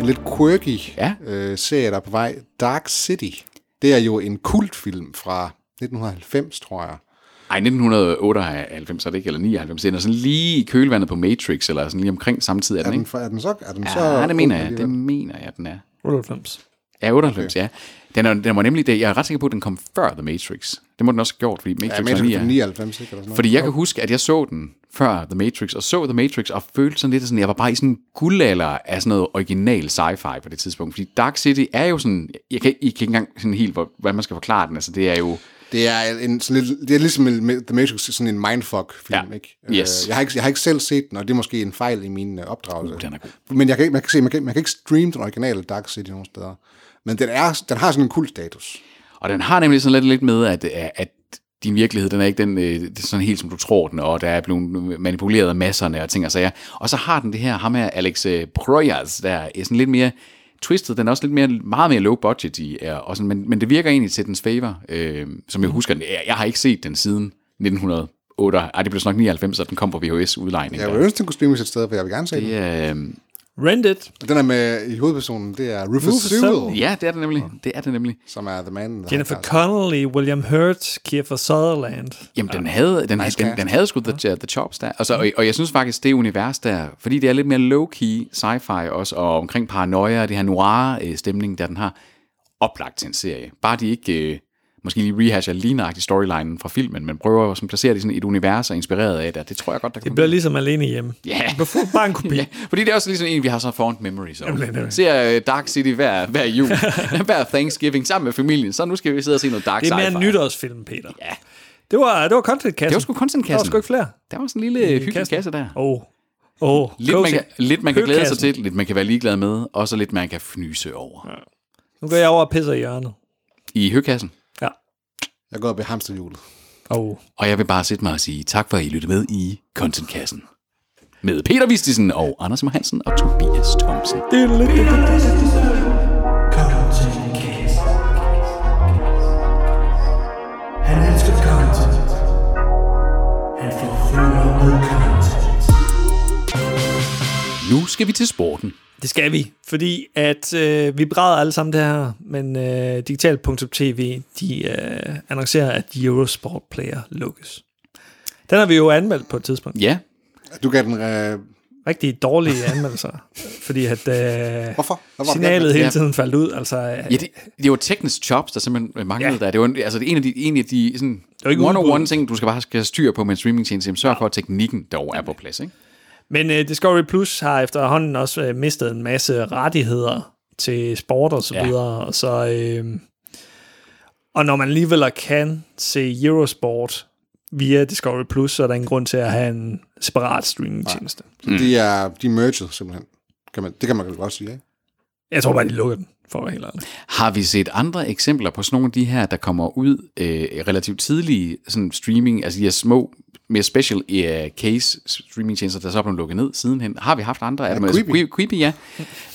[SPEAKER 4] En lidt quirky
[SPEAKER 3] Ja.
[SPEAKER 4] ja. øh, serie, der er på vej. Dark City. Det er jo en kultfilm fra 1990, tror jeg.
[SPEAKER 3] ej, 1998 er det ikke, eller 99. Den er sådan lige i kølvandet på Matrix, eller sådan lige omkring samtidig er den,
[SPEAKER 4] Er den,
[SPEAKER 3] ikke?
[SPEAKER 4] fra- er den så? Er den så
[SPEAKER 3] Ja, det mener jeg.
[SPEAKER 4] ung
[SPEAKER 3] Det
[SPEAKER 4] alligevel?
[SPEAKER 3] mener jeg, den er.
[SPEAKER 2] 98.
[SPEAKER 3] Ja, 98, okay. ja. Den, er, den var nemlig, det, jeg er ret sikker på, at den kom før The Matrix. Det må den også have gjort, fordi Matrix,
[SPEAKER 4] Ja,
[SPEAKER 3] ja,
[SPEAKER 4] men det
[SPEAKER 3] Matrix
[SPEAKER 4] er 99, ikke? Eller sådan noget.
[SPEAKER 3] Fordi jeg kan huske, at jeg så den før The Matrix, og så The Matrix, og følte sådan lidt, sådan, jeg var bare i sådan en guldalder af sådan noget original sci-fi på det tidspunkt. Fordi Dark City er jo sådan, jeg kan, I kan ikke engang sådan helt, hvor- hvordan man skal forklare den. Altså, det er jo,
[SPEAKER 4] Det er, en, sådan lidt, det er ligesom en- The Matrix, sådan en mindfuck-film,
[SPEAKER 3] Ja.
[SPEAKER 4] ikke?
[SPEAKER 3] Yes.
[SPEAKER 4] Øh, Jeg har ikke? Jeg har ikke selv set den, og det er måske en fejl i min øh, opdragelse. Uh,
[SPEAKER 3] den er god.
[SPEAKER 4] Men jeg kan, ikke- man, kan se, man, kan, man kan ikke streame den originale Dark City nogen steder. Men den, er, den har sådan en kult status.
[SPEAKER 3] og den har nemlig sådan lidt, lidt med, at, øh, at din virkelighed, den er ikke den, øh, det er sådan helt som du tror den, og der er blevet manipuleret af masserne og ting og sager. Og så har den det her, ham her Alex øh, Proyas, der er sådan lidt mere twistet, den er også lidt mere, meget mere low budget i, er- og sådan, men, men det virker egentlig til dens favor, øh, som jeg husker den. Jeg, jeg har ikke set den siden 1908, ej det blev så nok 99, så den kom på VHS-udlejning.
[SPEAKER 4] Jeg vil ønske, den kunne streames et sted, for jeg vil gerne se den.
[SPEAKER 3] Ja, øh,
[SPEAKER 2] Rent it.
[SPEAKER 4] Og den er med i hovedpersonen, det er Rufus,
[SPEAKER 2] Rufus
[SPEAKER 4] Sewell,
[SPEAKER 3] ja, det er det nemlig. Det er det nemlig.
[SPEAKER 4] som er The Man. der
[SPEAKER 2] Jennifer
[SPEAKER 3] altså.
[SPEAKER 4] har-
[SPEAKER 2] Connelly, William Hurt, Kiefer Sutherland.
[SPEAKER 3] Jamen, den havde, den, den, den,
[SPEAKER 4] cast.
[SPEAKER 3] den havde sgu the, the chops der. Altså, Og, så, og, og jeg synes faktisk, det univers der, fordi det er lidt mere low-key sci-fi også, og omkring paranoia og det her noir-stemning, der den har oplagt til en serie. Bare de ikke øh, måske lige rehasher lignagtig storylinen fra filmen, men prøver at sådan placere det i sådan et univers og inspireret af det. Det tror jeg godt, der kan
[SPEAKER 2] Det bliver ligesom alene hjemme.
[SPEAKER 3] Mm. Ja.
[SPEAKER 2] Yeah. Bare en kopi.
[SPEAKER 3] Ja, fordi det er også ligesom en, vi har så fond memories om.
[SPEAKER 2] Jamen, det er det.
[SPEAKER 3] Ser øh, Dark City hver, hver jul, hver Thanksgiving, sammen med familien. Så nu skal vi sidde og se noget dark
[SPEAKER 2] Det er mere
[SPEAKER 3] sci-fi.
[SPEAKER 2] en nytårsfilm, Peter.
[SPEAKER 3] Ja.
[SPEAKER 2] Det var, det var contentkassen.
[SPEAKER 3] Det var sgu
[SPEAKER 2] Der var
[SPEAKER 3] contentkassen.
[SPEAKER 2] sgu ikke flere.
[SPEAKER 3] Der var sådan en lille hyggelig
[SPEAKER 2] kassen.
[SPEAKER 3] kasse der.
[SPEAKER 2] Åh. Oh. Oh.
[SPEAKER 3] Lidt man, kan, lidt man kan glæde sig
[SPEAKER 2] Høkassen.
[SPEAKER 3] til, lidt man kan være ligeglad med, og så lidt man kan fnyse over. Ja.
[SPEAKER 2] Nu går jeg over og pisser i hjørnet.
[SPEAKER 3] I høkassen.
[SPEAKER 2] Ja.
[SPEAKER 4] Jeg går op i hamsterhjulet.
[SPEAKER 2] Oh.
[SPEAKER 3] Og jeg vil bare sætte mig og sige tak for, at I lyttede med i Contentkassen. Med Peter Vistisen og Anders Mohansen og Tobias Thomsen.
[SPEAKER 2] Det er lidt...
[SPEAKER 5] Content case. Han elsker content. Han får fyldt op med content.
[SPEAKER 3] skal vi til sporten.
[SPEAKER 2] Det skal vi, fordi at øh, vi bræder alle sammen det her, men øh, digital.tv, de øh, annoncerer, at Eurosport Player lukkes. Den har vi jo anmeldt på et tidspunkt.
[SPEAKER 3] Ja,
[SPEAKER 4] Du gav den... Øh,
[SPEAKER 2] Rigtig dårlige anmeldelser, fordi at øh,
[SPEAKER 4] Hvorfor? Hvorfor?
[SPEAKER 2] signalet
[SPEAKER 3] Ja.
[SPEAKER 2] hele tiden faldt ud. Altså, øh,
[SPEAKER 3] ja det, det var teknisk jobs, der simpelthen manglede
[SPEAKER 2] Ja.
[SPEAKER 3] ja. der. Det var en- altså, det er en af de, en af de sådan,
[SPEAKER 2] ikke udbud.
[SPEAKER 3] one-on-one ting, du skal bare skal have styr på med en streamingtjeneste. Jamen, Sørg for, at teknikken dog er på plads. Ikke?
[SPEAKER 2] Men øh, Discovery Plus har efterhånden også øh, mistet en masse rettigheder til sport og så
[SPEAKER 3] Ja.
[SPEAKER 2] videre. Og, så, øh, og når man alligevel kan se Eurosport via Discovery Plus, så er der ingen grund til at have en separat streamingtjeneste.
[SPEAKER 4] mm. de, er, de er merged, simpelthen. Kan man, det kan man vel godt sige, ikke?
[SPEAKER 2] Jeg tror bare, de lukker den, for at være helt ærlig.
[SPEAKER 3] Har vi set andre eksempler på sådan nogle af de her, der kommer ud øh, relativt tidlige sådan streaming, altså de her små, mere special øh, case streamingtjenester, der så er blevet lukket ned sidenhen? Har vi haft andre? Er det,
[SPEAKER 4] Quibi.
[SPEAKER 3] Altså, Qui- Quibi, ja.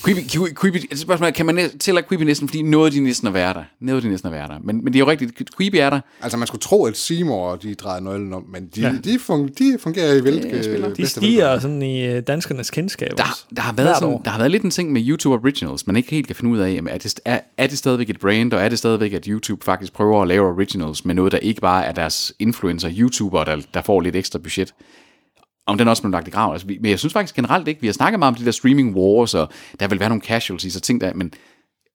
[SPEAKER 3] Quibi, Qui- Quibi, altså spørgsmålet er, kan man næ- tælle Quibi næsten, fordi noget af de næsten at være der. Noget af de næsten at være der. Men, men det er jo rigtigt, Quibi er der.
[SPEAKER 4] Altså, man skulle tro, at Seymour, de drejede nøglen om, men de, ja. de, fun, de fungerer i hvilke...
[SPEAKER 3] spiller.
[SPEAKER 2] De stiger sådan i øh, danskernes kendskab. også.
[SPEAKER 3] Der, der, har været
[SPEAKER 2] Hvert
[SPEAKER 3] sådan,
[SPEAKER 2] år.
[SPEAKER 3] der har været lidt en ting med YouTube Originals, man ikke helt kan finde ud af, jamen, er, det, er, er det stadigvæk et brand, og er det stadigvæk, at YouTube faktisk prøver at lave originals med noget, der ikke bare er deres influencer, YouTuber, der, der får lidt ekstra budget. Om den også blev lagt i graven. Altså, vi- men jeg synes faktisk generelt ikke, vi har snakket meget om de der streaming wars, og der vil være nogle casualties og ting der, men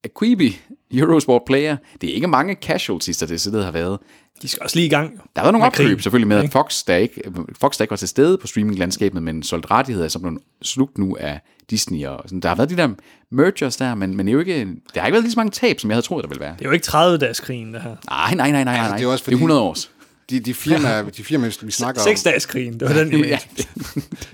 [SPEAKER 3] at Quibi, Eurosport Player, det er ikke mange casualties, der det siddet har været.
[SPEAKER 2] De skal også lige i gang. jo.
[SPEAKER 3] Der har været nogle
[SPEAKER 2] Med krigen.
[SPEAKER 3] opkøb selvfølgelig med, at Fox der, ikke, Fox, der ikke var til stede på streaminglandskabet, men solgte rettigheder, som blev slugt nu af Disney. Og sådan. Der har været de der mergers der, men, men det er jo ikke, der har ikke været lige så mange tab, som jeg havde troet, der ville være.
[SPEAKER 2] Det er jo ikke 30-dagskrigen, det her.
[SPEAKER 3] Nej, nej, nej, nej, nej.
[SPEAKER 4] Altså, det er jo også
[SPEAKER 3] det er
[SPEAKER 4] fordi-
[SPEAKER 3] 100 års.
[SPEAKER 4] De, de, firmaer, de firmaer, vi snakker om,
[SPEAKER 2] Seksdagskrigen, det var den, jeg mente.
[SPEAKER 3] Ja,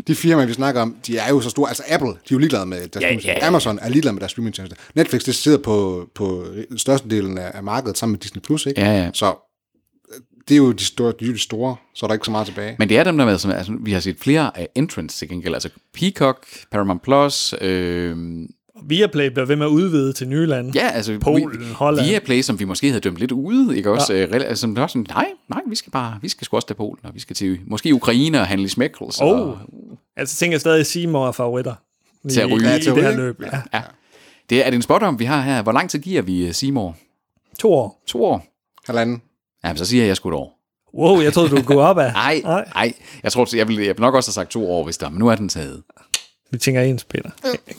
[SPEAKER 4] de firmaer, vi snakker om, de er jo så store. Altså Apple, de er jo ligeglade med deres
[SPEAKER 3] Ja,
[SPEAKER 4] ja,
[SPEAKER 3] ja, ja.
[SPEAKER 4] ja. Amazon er ligeglade med deres streamingtjeneste. Netflix, det sidder på, på størstedelen af, af markedet sammen med Disney+, Plus, ikke?
[SPEAKER 3] Ja, ja.
[SPEAKER 4] Så øh, det er jo de store, de, er jo de store, så er der ikke så meget tilbage.
[SPEAKER 3] Men det er dem, der med, som, altså, vi har set flere af entrants til gengæld, altså Peacock, Paramount Plus, øh,
[SPEAKER 2] Viaplay bliver ved med at udvide til nye lande.
[SPEAKER 3] Ja, altså
[SPEAKER 2] Polen, Holland.
[SPEAKER 3] Viaplay, som vi måske havde dømt lidt ude, ikke også? Ja. Altså, som det var sådan, nej, nej, vi skal bare, vi skal sgu også til Polen, og vi skal til måske Ukraine og handle smækkels.
[SPEAKER 2] Oh.
[SPEAKER 3] Og,
[SPEAKER 2] Altså tænker jeg stadig, at Seymour er favoritter.
[SPEAKER 3] Til at
[SPEAKER 2] I-
[SPEAKER 3] ryge.
[SPEAKER 2] i,
[SPEAKER 3] Ja,
[SPEAKER 2] i
[SPEAKER 4] til at
[SPEAKER 2] det her
[SPEAKER 4] ryge.
[SPEAKER 2] løb. Ja.
[SPEAKER 3] ja. Det er, er det en spot om, vi har her. Hvor lang tid giver vi øh, Seymour?
[SPEAKER 2] To år.
[SPEAKER 3] To år?
[SPEAKER 4] Halvanden.
[SPEAKER 3] Jamen, så siger jeg, jeg sgu et år.
[SPEAKER 2] Wow, jeg troede, du ville gå op af.
[SPEAKER 3] Nej, nej. Jeg tror, jeg ville, jeg ville nok også have sagt to år, hvis der, men nu er den taget.
[SPEAKER 2] Vi tænker ens, Peter.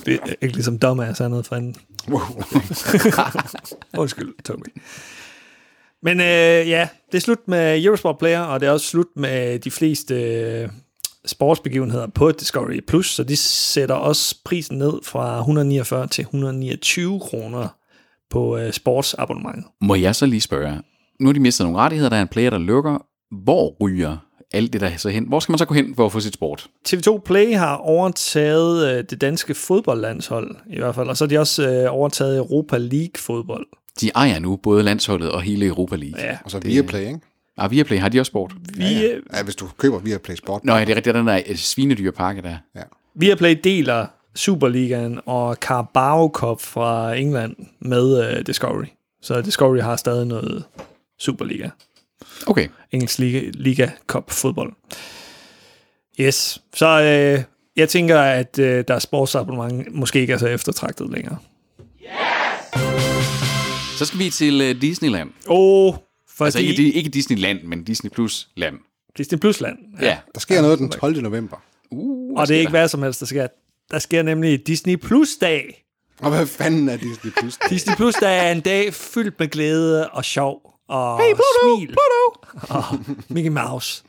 [SPEAKER 2] Ikke, ikke ligesom dommer er sådan noget for anden.
[SPEAKER 4] Wow.
[SPEAKER 2] Undskyld, Toby. Men øh, ja, det er slut med Eurosport Player, og det er også slut med de fleste øh, sportsbegivenheder på Discovery+, Plus, så de sætter også prisen ned fra 149 til 129 kroner på øh, sportsabonnementet.
[SPEAKER 3] Må jeg så lige spørge? Nu har de mistet nogle rettigheder, der er en player, der lukker. Hvor ryger alt det der så hen? Hvor skal man så gå hen for at få sit sport?
[SPEAKER 2] TV2 Play har overtaget øh, det danske fodboldlandshold, i hvert fald, og så har de også øh, overtaget Europa League-fodbold.
[SPEAKER 3] De ejer nu både landsholdet og hele Europa League.
[SPEAKER 2] Ja.
[SPEAKER 4] Og så Viaplay, ikke?
[SPEAKER 3] Og Viaplay har de også sport.
[SPEAKER 2] Vi, øh, ja, ja.
[SPEAKER 4] Ja, hvis du køber Viaplay Sport.
[SPEAKER 3] Nå ja, det er rigtigt, den der øh, svinedyrepakke der.
[SPEAKER 2] Viaplay deler Superligaen og Carabao Cup fra England med øh, Discovery. Så Discovery har stadig noget Superliga.
[SPEAKER 3] Okay.
[SPEAKER 2] Engelsk Liga, Liga Cup fodbold. Yes, så øh, jeg tænker, at øh, deres sportsabonnement måske ikke er så eftertragtet længere.
[SPEAKER 3] Så skal vi til øh, Disneyland.
[SPEAKER 2] Åh, oh, fordi
[SPEAKER 3] Altså ikke, Di- ikke Disneyland, men Disney Plus Land.
[SPEAKER 2] Disney Plus-land.
[SPEAKER 3] Ja. ja.
[SPEAKER 4] Der sker ja, noget den 12. november.
[SPEAKER 3] Uh,
[SPEAKER 2] Og det er ikke hvad som helst, der sker. Der sker nemlig Disney Plus-dag.
[SPEAKER 4] Og hvad fanden er Disney Plus?
[SPEAKER 2] Disney Plus-dag er en dag fyldt med glæde og sjov og hey, Pluto, smil. Pluto. og Mickey Mouse.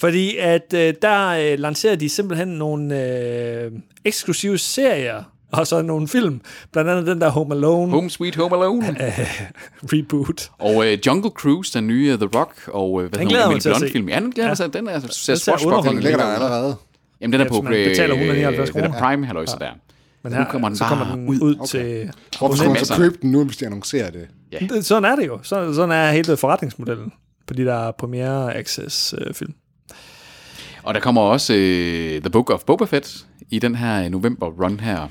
[SPEAKER 2] Fordi at øh, der øh, lancerer de simpelthen nogle øh, eksklusive serier og så nogle film. Blandt andet den der Home Alone Home.
[SPEAKER 3] Home Sweet Home Alone.
[SPEAKER 2] reboot.
[SPEAKER 3] og øh, Jungle Cruise, den nye øh, The Rock. Og øh, hvad
[SPEAKER 2] glæder
[SPEAKER 3] hedder
[SPEAKER 2] mig til at se.
[SPEAKER 3] Film. Ja, den glæder ja. sig. Den er altså ser swashbuckling.
[SPEAKER 2] underholdende
[SPEAKER 4] Den ligger der
[SPEAKER 3] ud.
[SPEAKER 4] allerede.
[SPEAKER 3] Jamen, den er
[SPEAKER 2] Ja,
[SPEAKER 3] på
[SPEAKER 2] hvis man betaler
[SPEAKER 3] øh,
[SPEAKER 2] 179
[SPEAKER 3] Den
[SPEAKER 2] kroner.
[SPEAKER 3] er Prime, halløjsa der.
[SPEAKER 2] Men
[SPEAKER 3] nu kommer den
[SPEAKER 2] så
[SPEAKER 3] bare
[SPEAKER 2] kommer den
[SPEAKER 3] ud.
[SPEAKER 2] ud okay. til...
[SPEAKER 4] Hvorfor skulle man så
[SPEAKER 3] Masser.
[SPEAKER 4] købe den nu, hvis de annoncerer det?
[SPEAKER 2] Det- Sådan er det jo. Sådan, sådan er hele forretningsmodellen på de der Premiere øh, Access-film.
[SPEAKER 3] Og der kommer også øh, The Book of Boba Fett i den her øh, november-run her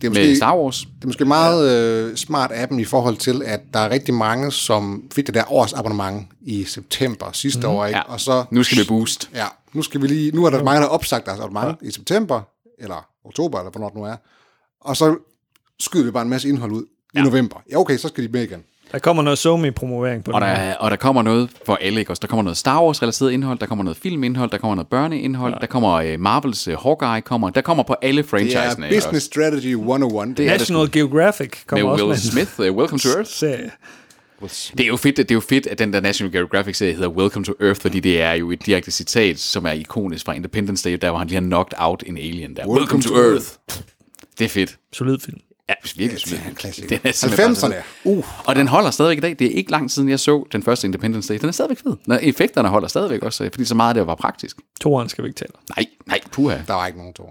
[SPEAKER 4] Det er
[SPEAKER 3] med Star Wars.
[SPEAKER 4] Det er måske meget øh, smart af dem i forhold til, at der er rigtig mange, som fik det der års abonnement i september sidste mm-hmm. år, ikke?
[SPEAKER 3] Mhm. Ja.
[SPEAKER 4] Og så,
[SPEAKER 3] Nu skal vi boost.
[SPEAKER 4] ja, nu skal vi lige, nu er der mange, der har opsagt deres abonnement ja. i september, eller oktober, eller hvornår det nu er, og så skyder vi bare en masse indhold ud ja. i november. Ja, okay, så skal de med igen.
[SPEAKER 2] Der kommer noget somi promovering på
[SPEAKER 3] Og
[SPEAKER 2] det.
[SPEAKER 3] der,
[SPEAKER 2] her.
[SPEAKER 3] er- og der kommer noget for alle, ikke også? Der kommer noget Star Wars-relateret indhold, der kommer noget filmindhold, der kommer noget børneindhold, ja. der kommer øh, Marvels øh, Hawkeye, kommer, der kommer på alle
[SPEAKER 4] Det er
[SPEAKER 3] franchisene. ikke også?
[SPEAKER 4] Business Strategy 101. Det
[SPEAKER 3] er
[SPEAKER 4] er,
[SPEAKER 3] det
[SPEAKER 2] National Geographic
[SPEAKER 3] med
[SPEAKER 2] kommer også
[SPEAKER 3] Will
[SPEAKER 2] med
[SPEAKER 3] Smith, uh, Welcome to
[SPEAKER 2] en
[SPEAKER 3] Earth.
[SPEAKER 2] serie.
[SPEAKER 3] Det er jo fedt, det er jo fedt at den der National Geographic-serie hedder Welcome to Earth, fordi det er jo et direkte citat, som er ikonisk fra Independence Day, der hvor han lige har knocked out en alien der. Welcome, Welcome to,
[SPEAKER 4] to
[SPEAKER 3] Earth. Det er fedt.
[SPEAKER 2] Solid film.
[SPEAKER 3] Ja, virkelig smidt.
[SPEAKER 4] en klassiker.
[SPEAKER 3] Det er simpelthen bare
[SPEAKER 4] 90'erne.
[SPEAKER 3] sådan- Uh. Og den holder stadigvæk i dag. Det er ikke lang tid siden, jeg så den første Independence Day. Den er stadigvæk fed. Nå, effekterne holder stadigvæk også, fordi så meget af det var praktisk.
[SPEAKER 2] Toren skal vi ikke tale om.
[SPEAKER 3] Nej, nej, puha.
[SPEAKER 4] der var ikke nogen to.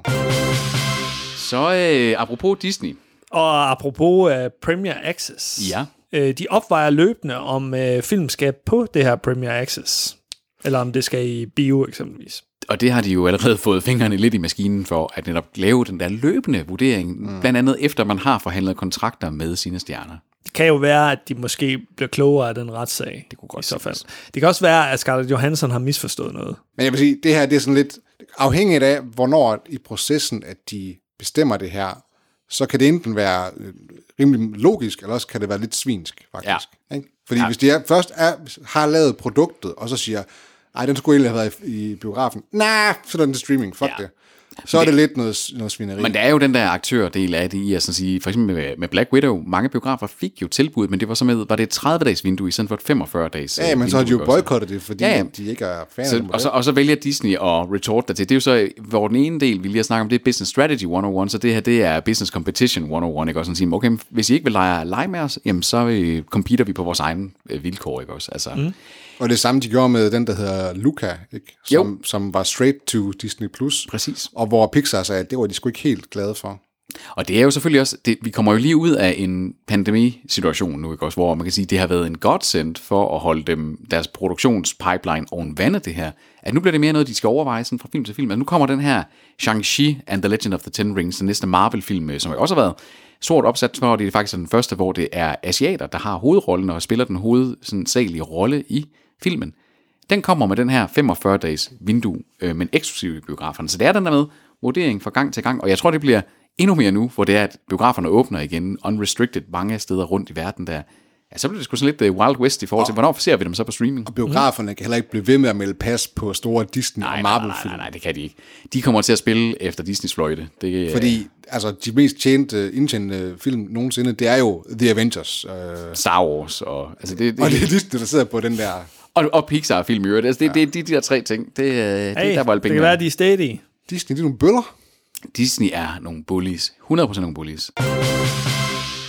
[SPEAKER 3] Så øh, apropos Disney.
[SPEAKER 2] Og apropos uh, Premier Access.
[SPEAKER 3] Ja.
[SPEAKER 2] Øh, de opvejer løbende, om øh, film skal på det her Premier Access. Eller om det skal i bio eksempelvis.
[SPEAKER 3] Og det har de jo allerede fået fingrene lidt i maskinen for, at netop lave den der løbende vurdering, mm. blandt andet efter man har forhandlet kontrakter med sine stjerner.
[SPEAKER 2] Det kan jo være, at de måske bliver klogere af den retssag. Det kunne godt i så fald. Det kan også være, at Scarlett Johansson har misforstået noget.
[SPEAKER 4] Men jeg vil sige, det her det er sådan lidt afhængigt af, hvornår i processen, at de bestemmer det her, så kan det enten være øh, rimelig logisk, eller også kan det være lidt svinsk, faktisk. Ja. Ikke? Fordi ja. hvis de er, først er, har lavet produktet, og så siger, ej, den skulle egentlig have været i, i biografen. Nej, nah, så er den til streaming, fuck ja. det. Så er det lidt noget, noget svineri.
[SPEAKER 3] Men der er jo den der aktørdel af det i, at sådan sige, for eksempel med, med Black Widow, mange biografer fik jo tilbud, men det var så med, var det et 30-dages vindue i stedet for et 45-dages
[SPEAKER 4] ja, men så har de jo boykottet det, fordi
[SPEAKER 3] Ja,
[SPEAKER 4] ja,
[SPEAKER 3] ja.
[SPEAKER 4] ja. de ikke er fan af
[SPEAKER 3] Så,
[SPEAKER 4] det.
[SPEAKER 3] og, så, og så vælger Disney at retort dertil. Det er jo så, hvor den ene del, vi lige har snakket om, det er Business Strategy 101, så det her, det er Business Competition 101, ikke også? Sådan sige, okay, men hvis I ikke vil lege, lege med os, jamen så øh, competer vi på vores egne øh, vilkår, ikke også? Altså, mm.
[SPEAKER 4] og det samme, de gjorde med den, der hedder Luca, ikke? Som,
[SPEAKER 3] Jo.
[SPEAKER 4] som var straight to Disney+. Plus.
[SPEAKER 3] Præcis.
[SPEAKER 4] Og hvor Pixar sagde, at det var de sgu ikke helt glade for.
[SPEAKER 3] Og det er jo selvfølgelig også, det, vi kommer jo lige ud af en pandemisituation nu, ikke også, hvor man kan sige, det har været en godsend for at holde dem, deres produktionspipeline oven vandet det her. At nu bliver det mere noget, de skal overveje sådan fra film til film. Altså nu kommer den her Shang-Chi and the Legend of the Ten Rings, den næste Marvel-film, øh, som jo også har været stort opsat for, og det er faktisk den første, hvor det er asiater, der har hovedrollen og spiller den hovedsagelige rolle i filmen. Den kommer med den her 45-dages vindue, øh, men eksklusiv i biograferne. Så det er den der med vurdering fra gang til gang, og jeg tror, det bliver endnu mere nu, hvor det er, at biograferne åbner igen, unrestricted mange steder rundt i verden der. Ja, så bliver det sgu sådan lidt øh, Wild West i forhold til, hvornår ser vi dem så på streaming?
[SPEAKER 4] biograferne mm. kan heller ikke blive ved med at melde pas på store Disney
[SPEAKER 3] Mhm. Nej, nej,
[SPEAKER 4] og
[SPEAKER 3] nej, nej,
[SPEAKER 4] Marvel-film.
[SPEAKER 3] nej, det kan de ikke. De kommer til at spille efter Disneys fløjte. Det, øh,
[SPEAKER 4] Fordi altså, de mest tjente, indtjente film nogensinde, det er jo The Avengers. Øh, og
[SPEAKER 3] Star Wars og... Altså det, det,
[SPEAKER 4] det er Disney, der sidder på den der...
[SPEAKER 3] og, og Pixar-film i øvrigt. Altså det, det, det, er de der tre ting. Det, øh, det er der, hvor
[SPEAKER 2] det kan
[SPEAKER 3] alle pengene
[SPEAKER 2] være,
[SPEAKER 3] er.
[SPEAKER 2] at de er stedige.
[SPEAKER 4] Disney, det er nogle bøller.
[SPEAKER 3] Disney er nogle bullies. 100% nogle bullies.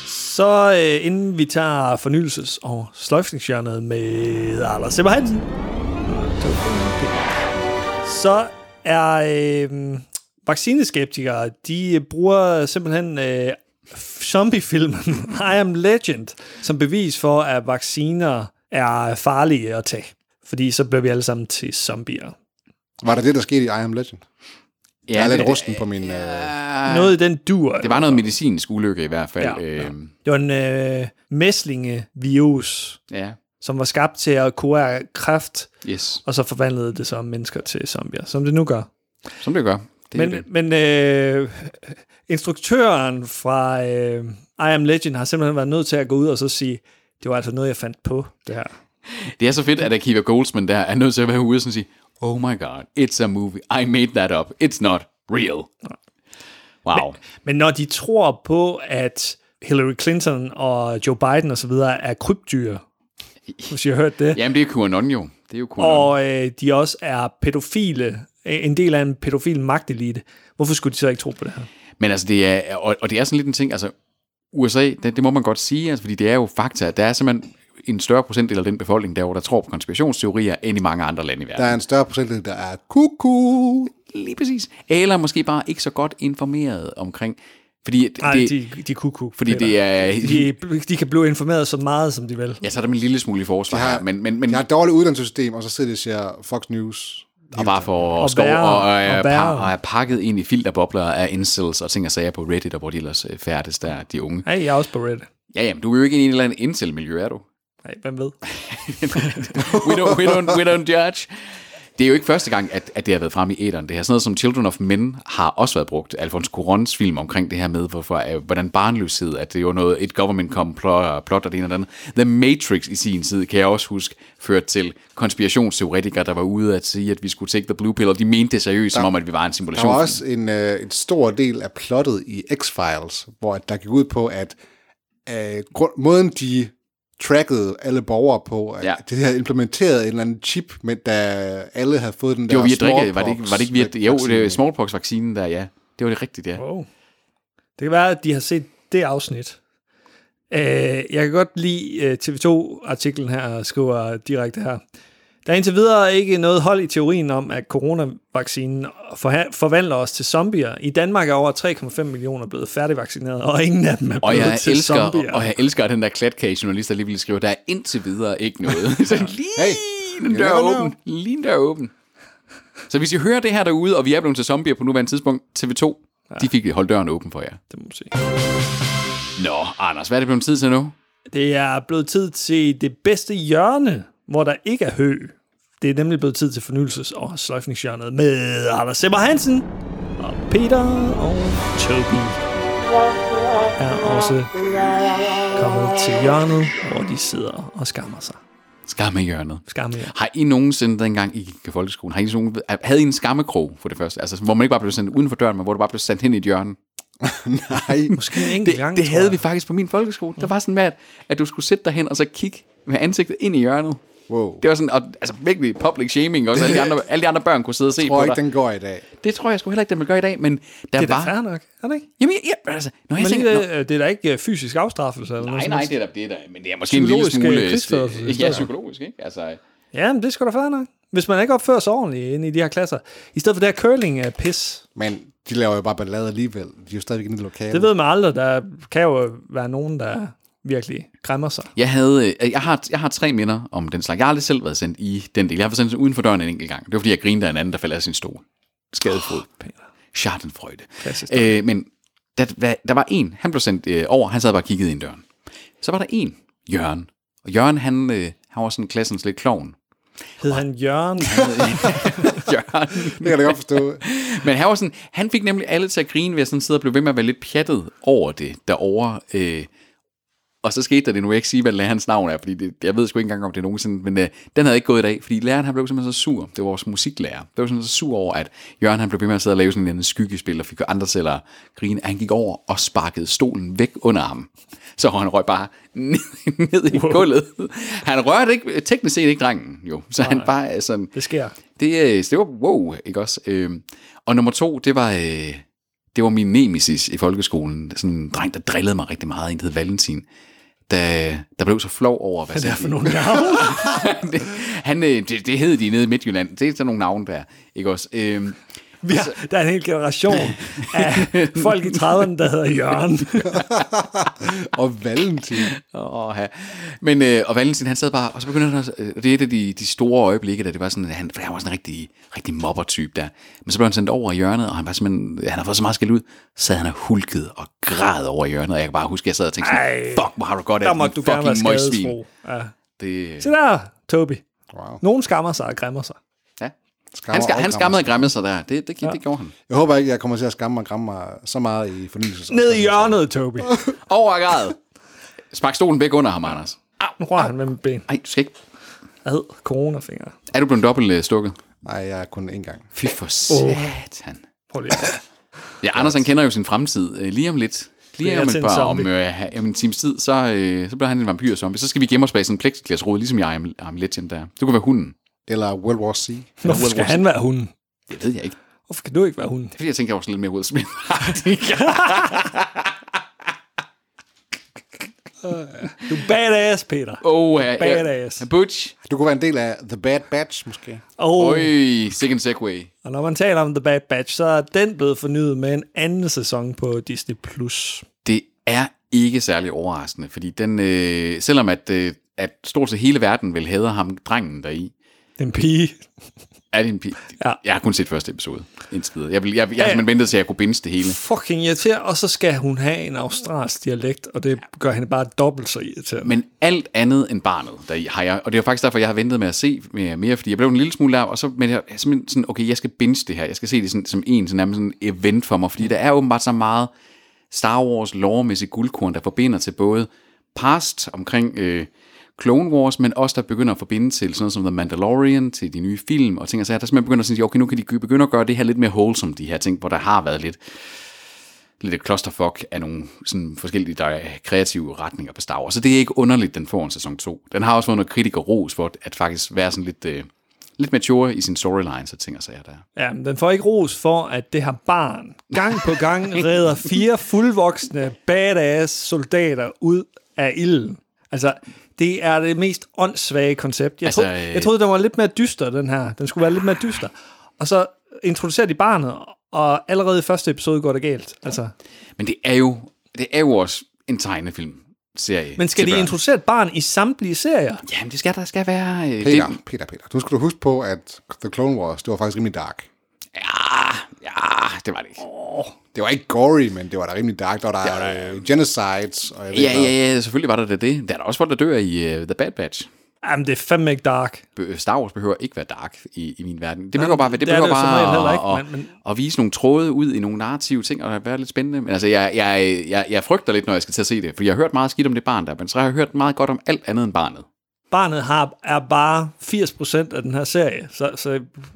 [SPEAKER 2] Så øh, inden vi tager fornyelses- og sløjfningsjørnet med Anders Simmer Hansen, så er øh, vaccineskeptikere, de bruger simpelthen øh, zombiefilmen I Am Legend som bevis for, at vacciner er farlige at tage. Fordi så bliver vi alle sammen til zombier.
[SPEAKER 4] Var det det, der skete i I Am Legend? Ja, jeg er lidt rusten på min... Øh,
[SPEAKER 2] Noget i den dur.
[SPEAKER 3] Det var noget medicinsk ulykke i hvert fald.
[SPEAKER 2] Ja,
[SPEAKER 3] Ja, ja.
[SPEAKER 2] det var en øh, mæslingevirus,
[SPEAKER 3] ja.
[SPEAKER 2] som var skabt til at kurere kræft,
[SPEAKER 3] yes.
[SPEAKER 2] og så forvandlede det så mennesker til zombier, som det nu gør.
[SPEAKER 3] Som det gør. Det er
[SPEAKER 2] Men,
[SPEAKER 3] det.
[SPEAKER 2] men øh, instruktøren fra øh, I Am Legend har simpelthen været nødt til at gå ud og så sige, det var altså noget, jeg fandt på, det her.
[SPEAKER 3] det er så fedt, at Akiva Goldsman der er nødt til at være ude og sådan sige, oh my god, it's a movie, I made that up, it's not real. Wow.
[SPEAKER 2] Men når de tror på, at Hillary Clinton og Joe Biden osv. er krybdyr, hvis I har hørt det,
[SPEAKER 3] Jamen det er QAnon jo. Det er jo QAnon.
[SPEAKER 2] og øh, de også er pædofile, øh, en del af en pædofil magtelite, hvorfor skulle de så ikke tro på det her?
[SPEAKER 3] Men altså, det er, og, og det er sådan lidt en ting, altså USA, det, det må man godt sige, altså, fordi det er jo fakta, der er simpelthen en større procentdel af den befolkning derovre, der tror på konspirationsteorier, end i mange andre lande i verden.
[SPEAKER 4] der er en større procentdel, der er kuku.
[SPEAKER 3] Lige præcis. Eller måske bare ikke så godt informeret omkring, fordi det,
[SPEAKER 2] Nej,
[SPEAKER 3] det,
[SPEAKER 2] de, de kunne kunne.
[SPEAKER 3] fordi det er...
[SPEAKER 2] De, de kan blive informeret så meget, som de vil.
[SPEAKER 3] Ja, så er der en lille smule i forsvar her, men, men, men
[SPEAKER 4] Jeg har et dårligt uddannelsessystem, og så sidder de og siger Fox News.
[SPEAKER 3] og bare for skov
[SPEAKER 2] bærer,
[SPEAKER 3] og, og, er
[SPEAKER 2] og bærer.
[SPEAKER 3] pa- og er pakket ind i filterbobler af incels og ting og sager på Reddit, og hvor de ellers øh, færdes der, de unge.
[SPEAKER 2] Hey, jeg er også på Reddit.
[SPEAKER 3] Ja, jamen, du er jo ikke i en eller anden incel-miljø, er du?
[SPEAKER 2] Nej, hvem ved?
[SPEAKER 3] we, don't, we, don't, we don't judge. Det er jo ikke første gang, at, at det har været frem i æderen. Det her sådan noget som Children of Men har også været brugt. Alfonso Cuarons film omkring det her med, hvorfor, øh, hvordan barnløshed, at det jo er noget, et government complot plot og det ene og det andet. The Matrix i sin tid, kan jeg også huske, førte til konspirationsteoretikere, der var ude at sige, at vi skulle take the blue pill, og de mente det seriøst, som om, at vi var en
[SPEAKER 4] Der
[SPEAKER 3] simulation.
[SPEAKER 4] var også en, øh, en stor del af plottet i X-Files, hvor at der gik ud på, at øh, grund, måden de trackede alle borgere på, at
[SPEAKER 3] Ja.
[SPEAKER 4] ja. det havde implementeret en eller anden chip, men da alle havde fået den
[SPEAKER 3] det
[SPEAKER 4] der
[SPEAKER 3] var via drikke, var det ikke, var det ikke via, jo,
[SPEAKER 4] smallpox-vaccine.
[SPEAKER 3] det er smallpox-vaccinen der, ja. Det var det rigtigt, ja.
[SPEAKER 2] Wow. Det kan være, at de har set det afsnit. Øh, jeg kan godt lide øh, TV2-artiklen her, og skriver direkte her. Der er indtil videre ikke noget hold i teorien om, at coronavaccinen forha- forvandler os til zombier. I Danmark er over 3,5 millioner blevet færdigvaccineret, og ingen af dem er
[SPEAKER 3] Og
[SPEAKER 2] blevet
[SPEAKER 3] jeg,
[SPEAKER 2] til
[SPEAKER 3] elsker,
[SPEAKER 2] zombier.
[SPEAKER 3] og jeg elsker at den der klatkage journalist, der lige ville skrive, der er indtil videre ikke noget. Så lige
[SPEAKER 4] Hey,
[SPEAKER 3] en
[SPEAKER 4] you
[SPEAKER 3] dør
[SPEAKER 4] never know.
[SPEAKER 3] åben. Lige en dør åben. Så hvis I hører det her derude, og vi er blevet til zombier på nuværende tidspunkt, TV2, de fik holdt døren åben for jer.
[SPEAKER 2] Det, må man sige.
[SPEAKER 3] Nå, Anders, hvad er det blevet tid til nu?
[SPEAKER 2] det er blevet tid til det bedste hjørne, hvor der ikke er hø. Det er nemlig blevet tid til fornyelses- og sløjfningshjørnet med Anders Semmer Hansen og Peter og Toby er også kommet til hjørnet, hvor de sidder og skammer sig.
[SPEAKER 3] Skam i hjørnet.
[SPEAKER 2] Skammer jer.
[SPEAKER 3] Har I nogensinde, dengang I gik i folkeskolen, har I nogen, havde I en skammekrog for det første? Altså, hvor man ikke bare blev sendt uden for døren, men hvor du bare blev sendt hen i et hjørne?
[SPEAKER 4] Nej,
[SPEAKER 2] Måske en enkelt
[SPEAKER 3] Det,
[SPEAKER 2] gang,
[SPEAKER 3] det
[SPEAKER 2] tror
[SPEAKER 3] havde
[SPEAKER 2] jeg.
[SPEAKER 3] vi faktisk på min folkeskole. Der var sådan med, at, at du skulle sætte dig hen og så kigge med ansigtet ind i hjørnet.
[SPEAKER 4] wow.
[SPEAKER 3] Det var sådan, og, altså virkelig public shaming også. Alle de andre, alle de andre børn kunne sidde og se
[SPEAKER 4] Jeg tror
[SPEAKER 3] på
[SPEAKER 4] ikke,
[SPEAKER 3] dig.
[SPEAKER 4] den går i dag.
[SPEAKER 3] Det tror jeg sgu heller ikke, den vil gøre i dag, men der
[SPEAKER 2] Det er
[SPEAKER 3] var...
[SPEAKER 2] da fair nok, er det ikke?
[SPEAKER 3] Jamen, ja, altså, når jeg
[SPEAKER 2] Men
[SPEAKER 3] tænker...
[SPEAKER 2] lige,
[SPEAKER 3] Nå,
[SPEAKER 2] det, det er da ikke øh, fysisk afstraffelse eller
[SPEAKER 3] nej,
[SPEAKER 2] noget
[SPEAKER 3] nej,
[SPEAKER 2] som
[SPEAKER 3] det er da det, er da, men det er måske en lille
[SPEAKER 2] Psykologisk, øh,
[SPEAKER 3] smule...
[SPEAKER 2] krigsførelse,
[SPEAKER 3] øh,
[SPEAKER 2] hvis
[SPEAKER 3] ja,
[SPEAKER 2] det er.
[SPEAKER 3] psykologisk, ikke? Altså,
[SPEAKER 2] helst. Jamen, det er sgu da fair nok. Hvis man ikke opfører sig ordentligt inde i de her klasser. I stedet for det her curling er pis.
[SPEAKER 4] Men de laver jo bare ballade alligevel. De er jo stadigvæk inde i lokalet.
[SPEAKER 2] Det ved man aldrig. Der kan jo være nogen, der virkelig græmmer sig.
[SPEAKER 3] Jeg, havde, øh, jeg, har, jeg har tre minder om den slags. Jeg har aldrig selv været sendt i den del. Jeg har været sendt uden for døren en enkelt gang. Det var, fordi jeg grinede af en anden, der faldt af sin stol. Skadet fod. Oh, Schadenfreude. Øh, men der, der, der var en, han blev sendt øh, over, han sad bare og kiggede ind i døren. Så var der en, Jørgen. Og Jørgen, han, øh, han var sådan klassens lidt klovn.
[SPEAKER 2] Hed han Jørgen?
[SPEAKER 3] Jørgen.
[SPEAKER 4] Det kan jeg da godt forstå.
[SPEAKER 3] Men han, var sådan, han fik nemlig alle til at grine ved at sådan sidde og blive ved med at være lidt pjattet over det derovre. Øh, og så skete der det, nu vil jeg ikke sige, hvad lærerens navn er, fordi det, jeg ved sgu ikke engang, om det er nogensinde, men øh, den havde ikke gået i dag, fordi læreren han blev simpelthen så sur, det var vores musiklærer, blev simpelthen så sur over, at Jørgen han blev ved med at sidde og lave sådan en eller anden skyggespil, og fik andre til at grine, at han gik over og sparkede stolen væk under ham. Så han røg bare ned, ned i gulvet. Han rørte ikke, teknisk set ikke drengen, jo. Så han bare øh, sådan...
[SPEAKER 2] Det sker.
[SPEAKER 3] Det, øh, så det var wow, ikke også? Øhm, og nummer to, det var, øh, det var min nemesis i folkeskolen. Sådan en dreng, der drillede mig rigtig meget. En der hed Valentin. Da, der blev så flov over, hvad
[SPEAKER 2] Det er for nogle navne.
[SPEAKER 3] det, han, øh, det, det hed de nede i Midtjylland. Det er sådan nogle navne der, ikke også? Øhm,
[SPEAKER 2] Vi har, der er en hel generation af folk i 30'erne, der hedder Jørgen.
[SPEAKER 4] Og Valentin.
[SPEAKER 3] Åh, ja. Men, øh, og Valentin, han sad bare, og så begyndte han, at- øh, og det er et af de, de store øjeblikke, da det var sådan, at han, for han var sådan en rigtig, rigtig mobbertype der. Men så blev han sendt over i hjørnet, og han var simpelthen, han har fået så meget skæld ud, så havde han og hulket og græd over i hjørnet, og jeg kan bare huske, at jeg sad og tænkte sådan,
[SPEAKER 2] Ej,
[SPEAKER 3] fuck, hvor har du godt af
[SPEAKER 2] Der
[SPEAKER 3] den,
[SPEAKER 2] må du gerne være
[SPEAKER 3] møgsvin."
[SPEAKER 2] skadesfro. Ja.
[SPEAKER 3] Det,
[SPEAKER 2] Se der, Toby.
[SPEAKER 4] Wow.
[SPEAKER 2] Nogen skammer sig og græmmer sig.
[SPEAKER 3] ja.
[SPEAKER 4] Skammer
[SPEAKER 3] Han, ska,
[SPEAKER 4] og
[SPEAKER 3] han skammede og græmmede sig der, det, det, det, det gjorde han.
[SPEAKER 4] Jeg håber ikke, jeg kommer til at skamme og gramme mig så meget i fornyelses.
[SPEAKER 2] Ned i hjørnet, Toby.
[SPEAKER 3] Over og græd. Spark stolen væk under ham, Anders.
[SPEAKER 2] Nu rører han med mit ben.
[SPEAKER 3] Ej, du skal ikke.
[SPEAKER 2] Ad, coronafingre.
[SPEAKER 3] Er du blevet dobbelt øh, stukket?
[SPEAKER 4] Nej, jeg er kun én gang.
[SPEAKER 3] Fy for satan.
[SPEAKER 2] Prøv lige.
[SPEAKER 3] Ja, Anders han kender jo sin fremtid øh, lige om lidt. Lige
[SPEAKER 2] Bliver
[SPEAKER 3] om
[SPEAKER 2] til
[SPEAKER 3] et
[SPEAKER 2] en
[SPEAKER 3] par, om,
[SPEAKER 2] zombie.
[SPEAKER 3] øh, ha- om en times tid, så, øh, så bliver han en vampyr-zombie. Så skal vi gemme os bag sådan en plexiglasrude, ligesom jeg am, am Legend der. Du kan være hunden.
[SPEAKER 4] Eller World War C.
[SPEAKER 2] Hvorfor skal han være hunden?
[SPEAKER 3] Det ved jeg ikke. Det
[SPEAKER 2] Hvorfor kan du ikke være hunden?
[SPEAKER 3] er fordi, jeg tænker, jeg var sådan lidt mere Will Smith.
[SPEAKER 2] Du er badass, Peter.
[SPEAKER 3] oh, uh,
[SPEAKER 2] Badass.
[SPEAKER 3] Butch.
[SPEAKER 4] Du kunne være en del af The Bad Batch, måske.
[SPEAKER 2] Oh.
[SPEAKER 3] Oj, second segway.
[SPEAKER 2] Og når man taler om The Bad Batch, så er den blevet fornyet med en anden sæson på Disney+. Plus.
[SPEAKER 3] Det er ikke særlig overraskende, fordi den, øh, selvom at, øh, at stort set hele verden vil hader ham, drengen deri,
[SPEAKER 2] Det er en pige.
[SPEAKER 3] Er det en pige?
[SPEAKER 2] Ja.
[SPEAKER 3] Jeg har kun set første episode indtil videre. Jeg, vil, jeg, jeg, jeg har simpelthen ventet til, at jeg kunne binde det hele.
[SPEAKER 2] Fucking irriterende. Og så skal hun have en australsk dialekt, og det gør hende bare dobbelt så irriterende.
[SPEAKER 3] øh, Men alt andet end barnet, der i- har jeg, og det er jo faktisk derfor, jeg har ventet med at se mere, mere fordi jeg blev en lille smule larm, og så men jeg er simpelthen sådan, okay, jeg skal binge det her, jeg skal se det sådan, som en sådan, nærmest sådan event for mig, fordi der er åbenbart så meget Star Wars loremæssigt guldkorn, der forbinder til både past omkring øh, Clone Wars, men også der begynder at forbinde til sådan noget som The Mandalorian, til de nye film og ting og sager, der simpelthen begynder at sige, okay, nu kan de gø- begynde at gøre det her lidt mere wholesome, de her ting, hvor der har været lidt lidt et clusterfuck af nogle sådan forskellige der er kreative retninger på Star Wars. Så det er ikke underligt, den får en sæson 2. Den har også fået noget kritik og ros for at faktisk være sådan lidt, øh, lidt mature i sin storyline, så ting og sager der.
[SPEAKER 2] Ja, men den får ikke ros for, at det her barn gang på gang redder fire fuldvoksne badass soldater ud af ilden. Altså, det er det mest åndssvage koncept. Jeg,
[SPEAKER 3] Altså,
[SPEAKER 2] altså, tro,
[SPEAKER 3] øh,
[SPEAKER 2] jeg troede, den var lidt mere dyster, den her. Den skulle være lidt mere dyster. Og så introducerer de barnet, og allerede i første episode går det galt. Altså,
[SPEAKER 3] Men det er jo, det er jo også en tegnefilm serie.
[SPEAKER 2] men skal de introducere et barn i samtlige serier?
[SPEAKER 3] Jamen, det skal der skal være... Øh, det,
[SPEAKER 4] Peter, Peter, Peter. Du skulle du huske på, at The Clone Wars, det var faktisk rimelig dark.
[SPEAKER 3] ja, ja, det var det ikke.
[SPEAKER 4] Det var ikke gory, men det var da rimelig dark. Der var der øh, genocides. Og jeg ved
[SPEAKER 3] Ja,
[SPEAKER 4] ikke hvad.
[SPEAKER 3] ja, ja, selvfølgelig var der det. det. Der er der også folk, der dør i uh, The Bad Batch.
[SPEAKER 2] Jamen, det er fandme ikke dark.
[SPEAKER 3] Be- Star Wars behøver ikke være dark i, i min verden. Det behøver bare, det
[SPEAKER 2] det er
[SPEAKER 3] behøver
[SPEAKER 2] det jo som regel
[SPEAKER 3] bare
[SPEAKER 2] heller
[SPEAKER 3] at,
[SPEAKER 2] ikke, men-
[SPEAKER 3] at, at vise nogle tråde ud i nogle narrative ting, og være lidt spændende. Men altså, jeg, jeg, jeg, jeg frygter lidt, når jeg skal til at se det, for jeg har hørt meget skidt om det barn der, men så har jeg hørt meget godt om alt andet end barnet.
[SPEAKER 2] barnet har, er bare 80% af den her serie. Så, så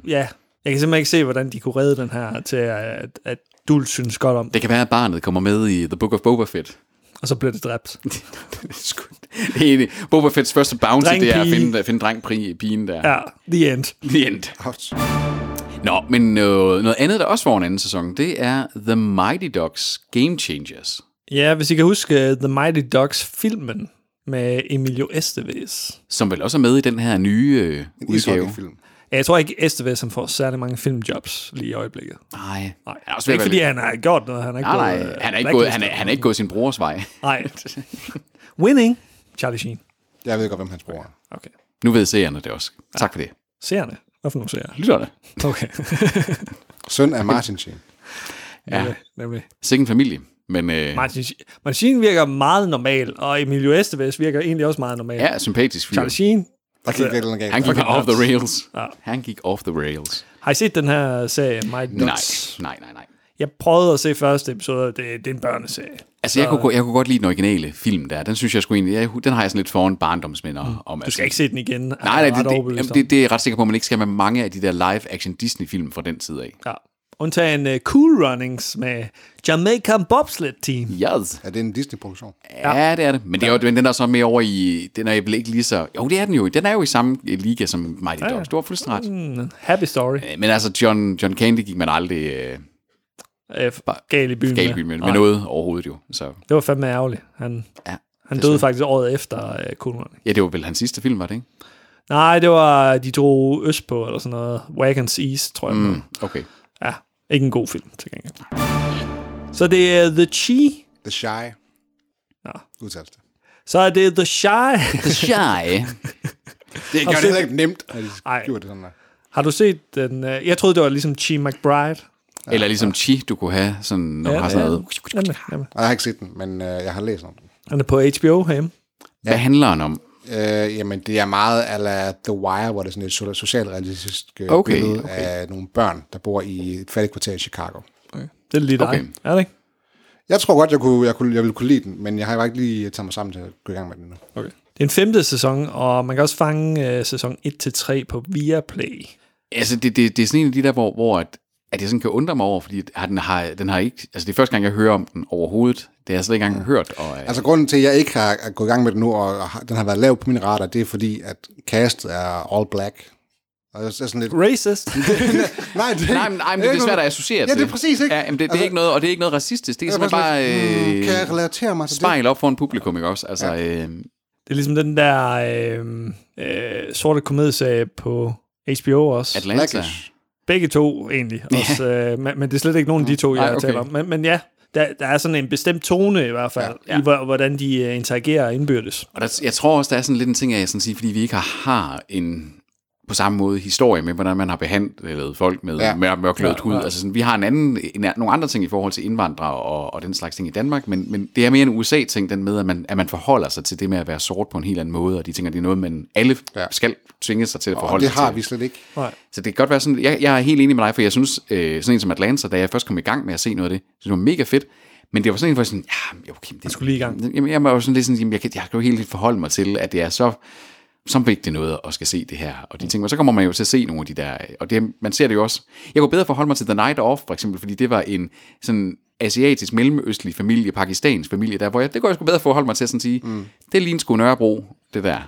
[SPEAKER 2] ja, jeg kan simpelthen ikke se, hvordan de kunne redde den her til, at, at Dul synes godt om det.
[SPEAKER 3] Det kan være, at barnet kommer med i The Book of Boba Fett.
[SPEAKER 2] Og så bliver det dræbt.
[SPEAKER 3] Det er sgu- det er egentlig- Boba Fetts første bounty,
[SPEAKER 2] Dreng,
[SPEAKER 3] det er at
[SPEAKER 2] pige.
[SPEAKER 3] finde, finde drengpigen der.
[SPEAKER 2] Ja, the end.
[SPEAKER 3] The end.
[SPEAKER 4] Out.
[SPEAKER 3] Nå, men noget, noget andet, der også var en anden sæson, det er The Mighty Ducks Game Changers.
[SPEAKER 2] Ja, hvis I kan huske øh, The Mighty Ducks-filmen med Emilio Estevez.
[SPEAKER 3] som vel også er med i den her nye øh, udgave.
[SPEAKER 4] Ishockey-film.
[SPEAKER 2] Ja, Jeg tror ikke, Estevez han får særlig mange filmjobs lige i øjeblikket.
[SPEAKER 3] Nej, nej. Han er også ved
[SPEAKER 2] Ikke
[SPEAKER 3] at
[SPEAKER 2] fordi
[SPEAKER 3] være
[SPEAKER 2] han har gjort noget. Han er ikke
[SPEAKER 3] lidt- nej,
[SPEAKER 2] gået,
[SPEAKER 3] nej,
[SPEAKER 2] øh,
[SPEAKER 3] han er ikke gået, han er,
[SPEAKER 2] blacklistet.
[SPEAKER 3] han er ikke gået sin brors vej.
[SPEAKER 2] Nej. Winning. Charlie Sheen.
[SPEAKER 4] Jeg ved godt, hvem hans bror er.
[SPEAKER 2] Okay.
[SPEAKER 3] Nu ved seerne det også. Tak for det.
[SPEAKER 2] Seerne. Hvorfor nu seere?
[SPEAKER 3] Lytterne.
[SPEAKER 2] Okay.
[SPEAKER 4] Søn af Martin Sheen.
[SPEAKER 3] Ja,
[SPEAKER 2] Nemlig.
[SPEAKER 3] sikke en familie. Men øh,
[SPEAKER 2] Martin, Martin Sheen virker meget normal, og Emilio Estevez virker egentlig også meget normal.
[SPEAKER 3] ja, sympatisk fyr.
[SPEAKER 2] Charlie Sheen,
[SPEAKER 4] Der gik lidt galt.
[SPEAKER 3] Altså, Han gik
[SPEAKER 4] Okay.
[SPEAKER 3] off the
[SPEAKER 2] nuts.
[SPEAKER 3] rails. Han gik off the rails.
[SPEAKER 2] har I set den her serie, Mighty
[SPEAKER 3] Nej,
[SPEAKER 2] Ducks?
[SPEAKER 3] nej, nej, nej.
[SPEAKER 2] Jeg prøvede at se første episode, og det, det er en børneserie.
[SPEAKER 3] Altså, jeg kunne, gå- jeg kunne godt lide den originale film der. Den synes jeg sgu egentlig, jeg, den har jeg sådan lidt foran barndomsminder mm. om.
[SPEAKER 2] Du skal ikke se den igen.
[SPEAKER 3] Nej, nej, det, det, jamen, det, det er jeg ret sikker på, at man ikke skal med mange af de der live-action Disney-film fra den tid af.
[SPEAKER 2] Ja. Undtagen uh, Cool Runnings med Jamaica Bobsled Team.
[SPEAKER 3] Yes.
[SPEAKER 4] Er det en Disney-produktion?
[SPEAKER 3] Ja, det er det. Men, det er jo, men den er så mere over i... Den er vel ikke lige så... Jo, det er den jo. Den er jo i samme øh, liga som Mighty Ducks. Du har fuldstændig ret.
[SPEAKER 2] Mm, Happy Story.
[SPEAKER 3] Øh, Men altså, John, John Candy gik man aldrig øh,
[SPEAKER 2] Øh, gal i byen.
[SPEAKER 3] galt med, med
[SPEAKER 2] Nej,
[SPEAKER 3] noget overhovedet jo. Så
[SPEAKER 2] Det var fandme ærgerligt. Han,
[SPEAKER 3] ja.
[SPEAKER 2] han døde faktisk året efter uh, Cool Running.
[SPEAKER 3] ja, det var vel hans sidste film, var det ikke?
[SPEAKER 2] Nej, det var, de drog øst på, eller sådan noget. Wagons East, tror jeg. Mm.
[SPEAKER 3] Mm, okay.
[SPEAKER 2] Ja, ikke en god film til gengæld. Så det er The Chi,
[SPEAKER 4] The Shy.
[SPEAKER 2] Nå.
[SPEAKER 4] Udtales det.
[SPEAKER 2] så er det The Shy.
[SPEAKER 3] The Shy.
[SPEAKER 4] Det gør det heller ikke nemt, at de
[SPEAKER 2] Ej.
[SPEAKER 4] gjorde det sådan der.
[SPEAKER 2] Har du set den? øh, Jeg troede, det var ligesom Chi McBride.
[SPEAKER 3] Eller ligesom Chi, du kunne have, sådan, når du har sådan noget.
[SPEAKER 2] Jamen, jamen.
[SPEAKER 4] Og jeg har ikke set den, men øh, jeg har læst om den.
[SPEAKER 2] Han er på HBO herhjemme.
[SPEAKER 3] Hvad handler han om?
[SPEAKER 4] Øh, jamen, det er meget ala The Wire, hvor det er sådan et so- socialrealistisk øh,
[SPEAKER 3] Okay,
[SPEAKER 4] billede
[SPEAKER 3] okay.
[SPEAKER 4] af nogle børn, der bor i et fattigt kvarter i Chicago.
[SPEAKER 2] Det er lige dig.
[SPEAKER 3] Okay.
[SPEAKER 2] Okay. Er det ikke?
[SPEAKER 4] Jeg tror godt, jeg, kunne, jeg, kunne, jeg ville kunne lide den, men jeg har bare ikke lige taget mig sammen til at gå i gang med den nu.
[SPEAKER 2] Okay. Det er en femte sæson, og man kan også fange øh, sæson 1-3 på Viaplay.
[SPEAKER 3] Altså, det, det, det er sådan en af de der, hvor, hvor at, at jeg sådan kan undre mig over, fordi at, ah, den, har, den har ikke... Altså, det er første gang, jeg hører om den overhovedet. Det har jeg slet ikke engang hørt. Og, øh,
[SPEAKER 4] Altså, grunden til, at jeg ikke har er gået i gang med den nu, og har- den har været lav på min radar, det er fordi, at castet er all black. Og jeg er sådan lidt...
[SPEAKER 2] Racist.
[SPEAKER 4] Nej, det er,
[SPEAKER 3] Nej, men, nej, men det er svært at associere
[SPEAKER 4] Ja, det er
[SPEAKER 3] til.
[SPEAKER 4] præcis, ikke?
[SPEAKER 3] Ja, jamen, det, det, er
[SPEAKER 4] Altså-
[SPEAKER 3] ikke noget, og det er ikke noget racistisk. Det er
[SPEAKER 4] Jeg er
[SPEAKER 3] simpelthen
[SPEAKER 4] bare
[SPEAKER 3] bare
[SPEAKER 4] sådan lidt,
[SPEAKER 3] øh,
[SPEAKER 4] hmm, kan jeg relatere mig til det?
[SPEAKER 3] smile op for en publikum, ikke også? Altså, ja. øh,
[SPEAKER 2] Det er ligesom den der øh, øh, sorte komedieserie på HBO også.
[SPEAKER 3] Atlanta.
[SPEAKER 4] Blackish.
[SPEAKER 2] Begge to egentlig. Også, øh, men, men det er slet ikke nogen af de to, jeg
[SPEAKER 3] Nej,
[SPEAKER 2] Ej,
[SPEAKER 3] Mm. Ah, okay.
[SPEAKER 2] okay. taler om. Men, men ja, der, der er sådan en bestemt tone i hvert fald,
[SPEAKER 3] Ja,
[SPEAKER 2] ja,
[SPEAKER 3] ja.
[SPEAKER 2] ja. i hvor- hvordan de øh, interagerer og indbyrdes.
[SPEAKER 3] Og der, jeg tror også, der er sådan lidt en ting, af, jeg sådan siger, fordi vi ikke har, har en på samme måde historie med, hvordan man har behandlet folk med
[SPEAKER 4] Ja.
[SPEAKER 3] ja. mørklødet ja, hud. Altså sådan, vi har en anden, en, nogle andre ting i forhold til indvandrere og, og den slags ting i Danmark, men, men det er mere en USA-ting, den med, at man, at man forholder sig til det med at være sort på en helt anden måde, og de tænker, det er noget, man alle
[SPEAKER 4] Ja.
[SPEAKER 3] ja. skal tvinge sig til at
[SPEAKER 4] Og
[SPEAKER 3] forholde
[SPEAKER 4] det
[SPEAKER 3] sig til.
[SPEAKER 4] har vi slet ikke.
[SPEAKER 3] Så det kan godt være sådan, jeg, jeg er helt enig med dig, for jeg synes, øh, sådan en som Atlanta, da jeg først kom i gang med at se noget af det, så det var mega fedt. Men det var sådan en, hvor jeg sådan, ja, okay, det, jeg
[SPEAKER 2] skulle lige i gang.
[SPEAKER 3] Jamen, jeg var jo sådan lidt sådan, jamen, jeg, kan, jeg kan jo helt vildt forholde mig til, at det er så, så vigtigt noget at skal se det her. Og de ting, og så kommer man jo til at se nogle af de der, og det, man ser det jo også. Jeg kunne bedre forholde mig til The Night Off, for eksempel, fordi det var en sådan asiatisk, mellemøstlig familie, pakistansk familie, der, hvor jeg, det kunne jeg sgu bedre forholde mig til at sådan sige, mm. det ligner sgu Nørrebro, det der.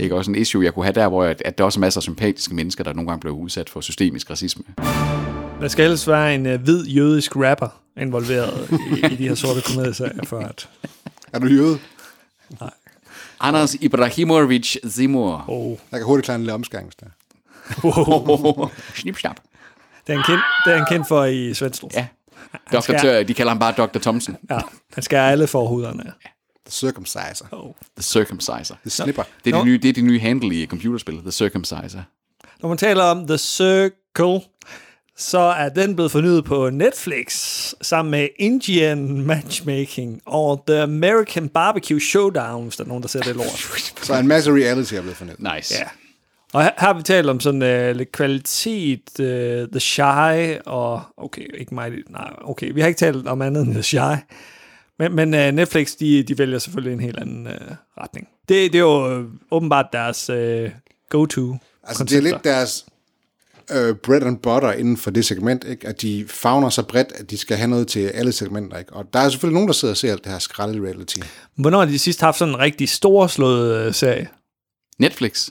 [SPEAKER 3] Ikke også en issue, jeg kunne have der, hvor jeg, at der også er masser af sympatiske mennesker, der nogle gange bliver udsat for systemisk racisme.
[SPEAKER 2] Der skal ellers være en øh, hvid jødisk rapper involveret i, i de her sorte komedieserier, for at...
[SPEAKER 4] Er du jøde?
[SPEAKER 3] Anders Ibrahimovic Zimor.
[SPEAKER 2] Oh,
[SPEAKER 4] Jeg kan hurtigt klare en lille omskæring. hvis det er.
[SPEAKER 3] Oh. Snip, snap.
[SPEAKER 2] det, er han kendt, det er han kendt for i Svendstrup.
[SPEAKER 3] Ja. Dr.
[SPEAKER 2] skal-
[SPEAKER 3] Tør, de kalder ham bare Dr. Thompson.
[SPEAKER 2] ja. Han skal have alle forhuderne.
[SPEAKER 4] The circumciser.
[SPEAKER 3] The Circumciser.
[SPEAKER 4] The snipper.
[SPEAKER 3] Det er, de nye, det er de nye handle i computerspil, The Circumciser.
[SPEAKER 2] Når man taler om The Circle, så er den blevet fornyet på Netflix sammen med Indian Matchmaking og The American Barbecue Showdown, hvis der er nogen, der ser det lort.
[SPEAKER 4] Så en masse reality er blevet fornævnt.
[SPEAKER 3] Nice.
[SPEAKER 2] Ja. Og her, her har vi talt om sådan øh, lidt kvalitet, øh, The Shy og... Okay, ikke mig. Nej, okay, vi har ikke talt om andet end The Shy. Men, men øh, Netflix, de, de vælger selvfølgelig en helt anden øh, retning. Det, det er jo øh, åbenbart deres øh, go-to.
[SPEAKER 4] Altså, det er lidt deres øh, bread and butter inden for det segment, ikke? at de fagner så bredt, at de skal have noget til alle segmenter. Ikke? Og der er selvfølgelig nogen, der sidder og ser alt det her skralde reality.
[SPEAKER 2] Hvornår har de sidst haft sådan en rigtig storslået øh, serie?
[SPEAKER 3] Netflix.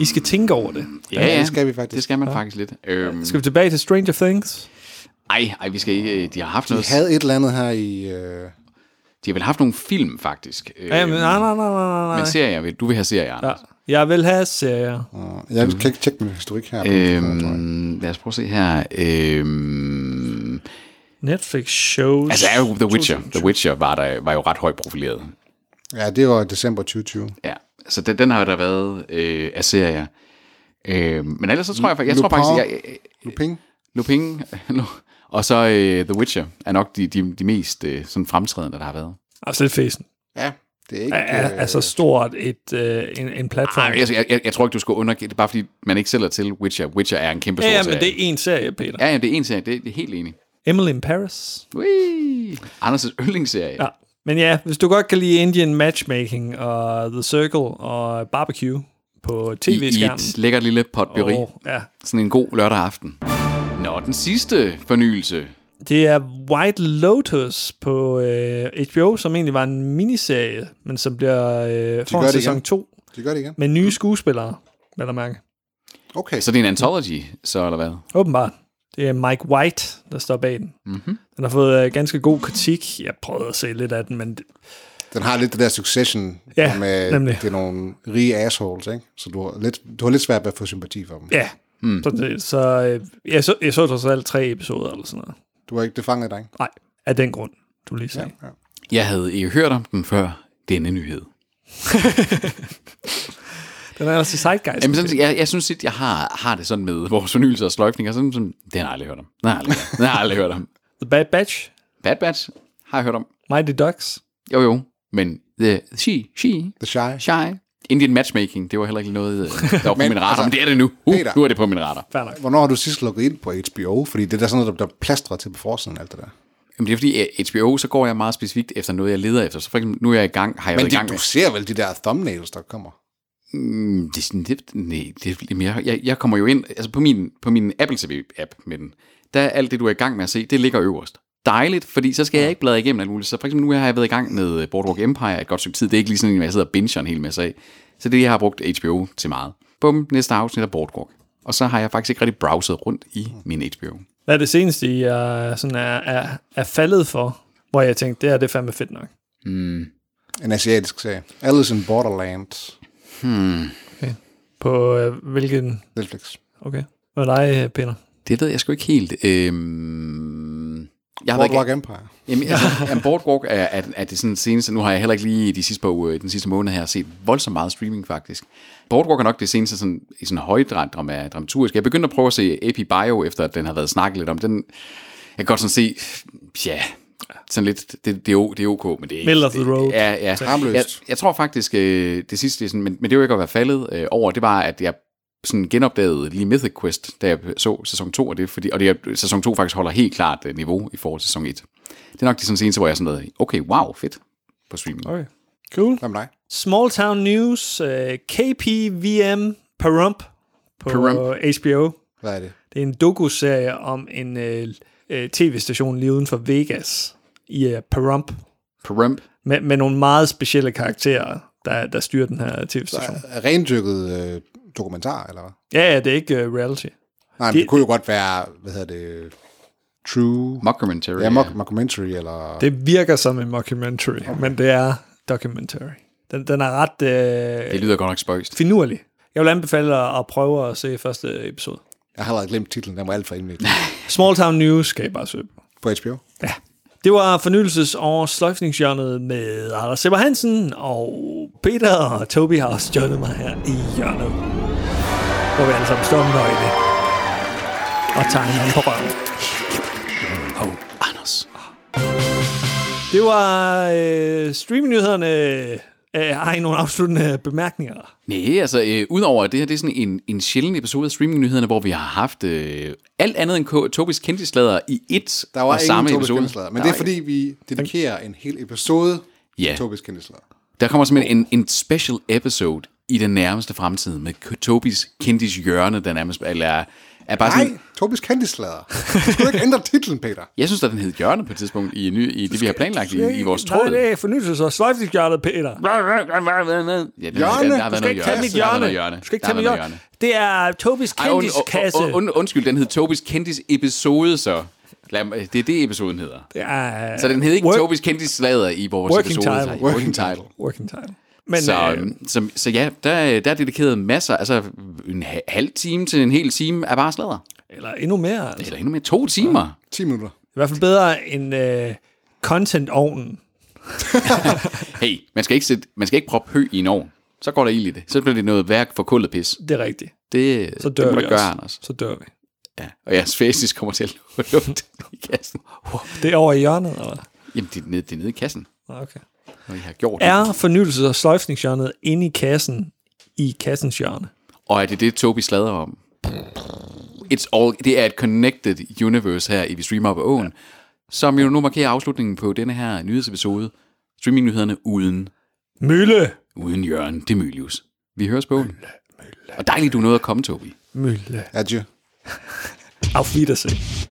[SPEAKER 2] I skal tænke over det.
[SPEAKER 3] Ja,
[SPEAKER 4] det skal vi faktisk.
[SPEAKER 3] Det skal man faktisk lidt. Øhm,
[SPEAKER 2] Skal vi tilbage til Stranger Things?
[SPEAKER 3] ej, ej, vi skal ikke. øh, De har haft
[SPEAKER 4] De
[SPEAKER 3] noget.
[SPEAKER 4] havde et eller andet her i... Øh,
[SPEAKER 3] De har vel haft nogle film, faktisk. Øhm,
[SPEAKER 2] Ja, men, nej, nej, nej, nej, nej.
[SPEAKER 3] Men serier, vil- du vil have serier,
[SPEAKER 2] Ja.
[SPEAKER 3] Anders.
[SPEAKER 2] Jeg vil have serier.
[SPEAKER 4] jeg kan ikke tjekke min historik her.
[SPEAKER 3] Øhm, lad os prøve at se her. Øhm,
[SPEAKER 2] Netflix shows.
[SPEAKER 3] altså, er jo The Witcher. The Witcher var, der, var jo ret højt profileret.
[SPEAKER 4] Ja, det var december 2020.
[SPEAKER 3] Ja, så den, den har der været øh, af serier. Øh, men ellers så tror jeg, fa- jeg tror
[SPEAKER 4] Lupin.
[SPEAKER 3] faktisk, jeg, jeg,
[SPEAKER 4] Lupin?
[SPEAKER 3] Lupin Lu- og så øh, The Witcher er nok de, de, de mest øh, sådan fremtrædende, der har været.
[SPEAKER 2] Altså lidt fæsen.
[SPEAKER 4] Ja, det er
[SPEAKER 2] Er,
[SPEAKER 4] ikke... øh,
[SPEAKER 2] er, er så altså, stort et, øh, en, en platform.
[SPEAKER 3] Ej, jeg, jeg, jeg tror ikke, du skal underkende det, bare fordi man ikke selv er til Witcher. Witcher er en kæmpe stor
[SPEAKER 2] ja, ja, men
[SPEAKER 3] serie.
[SPEAKER 2] det er en serie, Peter. Ja.
[SPEAKER 3] Ja, ja, det er en serie, det, det er helt enig.
[SPEAKER 2] Emily in Paris.
[SPEAKER 3] Whee! Anders' yndlingsserie.
[SPEAKER 2] Ja. Men ja, hvis du godt kan lide Indian Matchmaking og The Circle og Barbecue på
[SPEAKER 3] I, I
[SPEAKER 2] tv-skærmen.
[SPEAKER 3] et lækkert lille potpourri. Oh.
[SPEAKER 2] og, ja,
[SPEAKER 3] Sådan en god lørdag aften. Nå, den sidste fornyelse.
[SPEAKER 2] Det er White Lotus på øh, HBO, som egentlig var en miniserie, men som bliver øh,
[SPEAKER 4] gør
[SPEAKER 2] foran
[SPEAKER 4] det
[SPEAKER 2] sæson
[SPEAKER 4] igen.
[SPEAKER 2] 2
[SPEAKER 4] De gør det igen.
[SPEAKER 2] med nye skuespillere, hvad der mærke.
[SPEAKER 4] Okay,
[SPEAKER 3] Så det er en anthology, så eller hvad?
[SPEAKER 2] Åbenbart. Det er Mike White, der står bag den. Mm-hmm. Den har fået øh, ganske god kritik. Jeg prøvede at se lidt af den, men det-
[SPEAKER 4] den har lidt det der succession
[SPEAKER 2] Ja,
[SPEAKER 4] med,
[SPEAKER 2] nemlig.
[SPEAKER 4] det er nogle rige assholes, ikke? Så du har lidt, du har lidt svært ved at få sympati for dem.
[SPEAKER 2] ja. Mm. Så, det, så øh, jeg så, jeg så trods alt tre episoder eller sådan noget.
[SPEAKER 4] Du har ikke det fanget dig, ikke?
[SPEAKER 2] Nej, af den grund, du lige sagde. Ja.
[SPEAKER 3] Jeg havde ikke hørt om den før denne nyhed.
[SPEAKER 2] Den er altså i Zeitgeist.
[SPEAKER 3] Jamen, sådan, jeg, jeg synes, at jeg har, har det sådan med vores fornyelser og sløjfninger. Sådan, sådan, den har jeg aldrig hørt om. Den har jeg aldrig hørt om. Den har jeg aldrig hørt om.
[SPEAKER 2] The Bad Batch,
[SPEAKER 3] Bad Batch har jeg hørt om.
[SPEAKER 2] Mighty Ducks.
[SPEAKER 3] Jo, jo. Men the, she, she,
[SPEAKER 4] The Shy.
[SPEAKER 3] shy. Indian matchmaking, det var heller ikke noget, øh, der var på min radar. Altså, men det er det nu. Uh,
[SPEAKER 4] Peter.
[SPEAKER 3] nu er det på min radar.
[SPEAKER 2] Fair nok.
[SPEAKER 4] Hvornår har du sidst logget ind på HBO? Fordi det er der sådan noget, der bliver plastret til på forsiden alt det der.
[SPEAKER 3] Jamen, det er fordi, øh, HBO, så går jeg meget specifikt efter noget, jeg leder efter. Så for eksempel, nu er jeg i gang, har jeg
[SPEAKER 4] Men
[SPEAKER 3] været i gang
[SPEAKER 4] de, du ser vel de der thumbnails, der kommer?
[SPEAKER 3] Mm, det er sådan lidt, nej, det er, jamen, jeg, jeg, jeg kommer jo ind, altså på min, på min Apple TV-app med den, der er alt det, du er i gang med at se, det ligger øverst. Dejligt, fordi så skal jeg ikke bladre igennem alt muligt. Så for eksempel nu har jeg været i gang med øh, Boardwalk Empire et godt stykke tid. Det er ikke lige sådan, at jeg sidder og binger en hel masse af. Så det er det, jeg har brugt HBO til meget. Bum, næste afsnit af Boardwalk. Og så har jeg faktisk ikke rigtig browset rundt i min HBO.
[SPEAKER 2] Hvad er det seneste, I er, sådan er, er, er faldet for, hvor jeg tænkte, det her det er fandme fedt nok?
[SPEAKER 4] En asiatisk serie. Alice in Borderland.
[SPEAKER 2] På øh, hvilken...
[SPEAKER 4] Netflix.
[SPEAKER 2] Okay. Hvad er dig, øh, Peter?
[SPEAKER 3] Det ved jeg sgu ikke helt. Øhm, Jeg har
[SPEAKER 4] Boardwalk
[SPEAKER 3] været,
[SPEAKER 4] Empire.
[SPEAKER 3] jamen, altså, jamen, Boardwalk er, er, er det sådan seneste, nu har jeg heller ikke lige de sidste par, uger- den sidste måned her set voldsomt meget streaming faktisk. Boardwalk er nok det seneste sådan, i sådan højdrat drama, dramaturgisk. Jeg begyndte at prøve at se AP Bio, efter at den har været snakket lidt om. Den, jeg kan godt sådan se, ja, sådan lidt, det, det, er, o- det er ok, men det er ikke...
[SPEAKER 2] Middle of the road.
[SPEAKER 3] Ja, ja.
[SPEAKER 4] Harmløst.
[SPEAKER 3] Jeg, jeg tror faktisk, øh, det sidste, jeg sådan, men, men det var ikke at være faldet øh, over, det var, at jeg sådan genopdagede lige Mythic Quest, da jeg så sæson 2 af det, fordi, og det, er- sæson 2 faktisk holder helt klart øh, niveau i forhold til sæson 1. Det er nok det sådan seneste, hvor jeg er sådan noget, okay, wow, fedt på streaming. Okay.
[SPEAKER 2] Cool.
[SPEAKER 4] Hvad med dig?
[SPEAKER 2] Small Town News, øh, KPVM Perump på
[SPEAKER 3] Pahrump.
[SPEAKER 2] HBO.
[SPEAKER 4] Hvad er det?
[SPEAKER 2] Det er en dokuserie om en øh, øh, tv-station lige uden for Vegas i øh, Pahrump,
[SPEAKER 3] Perump.
[SPEAKER 2] med, med nogle meget specielle karakterer, der, der styrer den her tv-station.
[SPEAKER 4] Er Rendyrket øh, dokumentar, eller hvad?
[SPEAKER 2] Ja, ja, det er ikke øh, reality.
[SPEAKER 4] Nej, det, men
[SPEAKER 2] Det-
[SPEAKER 4] det kunne jo godt være, hvad hedder det, True...
[SPEAKER 3] Mockumentary.
[SPEAKER 4] Ja, mock, mockumentary, eller...
[SPEAKER 2] Det virker som en mockumentary, men det er documentary. Den, den er ret
[SPEAKER 3] Det
[SPEAKER 2] øh,
[SPEAKER 3] lyder godt nok spøjst.
[SPEAKER 2] finurlig. Jeg vil anbefale dig at prøve at se første episode.
[SPEAKER 4] Jeg har allerede glemt titlen, den var alt for indviklet.
[SPEAKER 2] Small Town News skal I bare søge på.
[SPEAKER 4] På HBO?
[SPEAKER 2] Det var fornyelses- og sløjfningshjørnet med Anders Sepper Hansen, og Peter og Toby har også stjålet mig her i hjørnet. Hvor vi alle sammen står nøgne og tager hinanden på røven.
[SPEAKER 3] Oh, Anders.
[SPEAKER 2] Det var øh, streamingnyhederne. Øh, har I nogle afsluttende bemærkninger?
[SPEAKER 3] Nej, altså øh, udover at det her, det er sådan en, en sjælden episode af streamingnyhederne, hvor vi har haft øh, alt andet end K- Tobis kendtislader i et
[SPEAKER 4] Der var
[SPEAKER 3] og samme
[SPEAKER 4] ingen
[SPEAKER 3] episode.
[SPEAKER 4] Tobis Men det er fordi, vi dedikerer en hel episode
[SPEAKER 3] Ja.
[SPEAKER 4] til Tobis Kindeslader.
[SPEAKER 3] Der kommer simpelthen en, en special episode i den nærmeste fremtid med K- Tobis kendtis hjørne, der nærmest eller er bare sådan,
[SPEAKER 4] Nej, Tobis Kindeslader. Du skulle ikke ændre titlen, Peter.
[SPEAKER 3] jeg synes, at den hed hjørne på et tidspunkt i, en ny, i det, vi har planlagt i, i vores
[SPEAKER 2] Nej,
[SPEAKER 3] tråd.
[SPEAKER 2] det er fornyelses- og sløjfningshjørnet, Peter.
[SPEAKER 3] Ja, den,
[SPEAKER 4] Hjørne!
[SPEAKER 3] der har
[SPEAKER 4] Du
[SPEAKER 3] været
[SPEAKER 4] skal
[SPEAKER 3] noget
[SPEAKER 4] ikke
[SPEAKER 3] hjørne.
[SPEAKER 4] tage mit
[SPEAKER 3] Der har været
[SPEAKER 2] hjørne.
[SPEAKER 3] noget hjørne.
[SPEAKER 2] Du skal ikke
[SPEAKER 3] Der
[SPEAKER 2] tage
[SPEAKER 3] har
[SPEAKER 2] mit
[SPEAKER 3] været
[SPEAKER 2] hjørne. Det er Tobis
[SPEAKER 3] Ej, und,
[SPEAKER 2] kendiskasse.
[SPEAKER 3] und, und, undskyld, den hed Tobis kendtis episode, så. Lad, mig- det er det, episoden hedder.
[SPEAKER 2] Det er
[SPEAKER 3] Så den hed ikke
[SPEAKER 2] work-
[SPEAKER 3] Tobis kendtis slader i vores
[SPEAKER 2] Working
[SPEAKER 3] episode.
[SPEAKER 2] title.
[SPEAKER 3] så-
[SPEAKER 4] Working
[SPEAKER 3] Working title.
[SPEAKER 2] Working time. Men,
[SPEAKER 3] Så, øhm,
[SPEAKER 2] øh,
[SPEAKER 3] så, så ja, der, der er dedikeret masser, altså en ha- halv time til en hel time af bare slader.
[SPEAKER 2] eller endnu mere. Altså.
[SPEAKER 3] Eller endnu mere to timer.
[SPEAKER 4] 10 minutter.
[SPEAKER 2] I hvert fald bedre end øh, content-ovnen.
[SPEAKER 3] Hey, man skal ikke, sætte, man skal ikke proppe hø i en ovn. Så går der ild i det. Så bliver det noget værk for kullet pis.
[SPEAKER 2] Det er rigtigt.
[SPEAKER 3] Det,
[SPEAKER 2] Så dør
[SPEAKER 3] det må
[SPEAKER 2] vi
[SPEAKER 3] du gøre,
[SPEAKER 2] også.
[SPEAKER 3] Anders.
[SPEAKER 2] Så dør vi.
[SPEAKER 3] Ja. Og jeres fæsis kommer til at lugte i kassen.
[SPEAKER 2] Det er over i hjørnet, eller hvad?
[SPEAKER 3] Jamen, det er nede, det er nede i kassen,
[SPEAKER 2] Nå, Okay.
[SPEAKER 3] når I har gjort det.
[SPEAKER 2] Er fornyelses- og sløjfningshjørnet inde i kassen i kassens hjørne?
[SPEAKER 3] Og er det det, Tobi slader om? It's all, det er et connected universe her i Vi Streamer på Åen, ja. som jo nu markerer afslutningen på denne her nyhedsepisode. Streamingnyhederne uden,
[SPEAKER 2] Mølle!
[SPEAKER 3] uden Jørgen Demilius. Vi høres på Åen. Og dejligt, du nåede at komme, Tobi.
[SPEAKER 2] Mølle.
[SPEAKER 4] Adieu.
[SPEAKER 2] Auf Wiedersehen.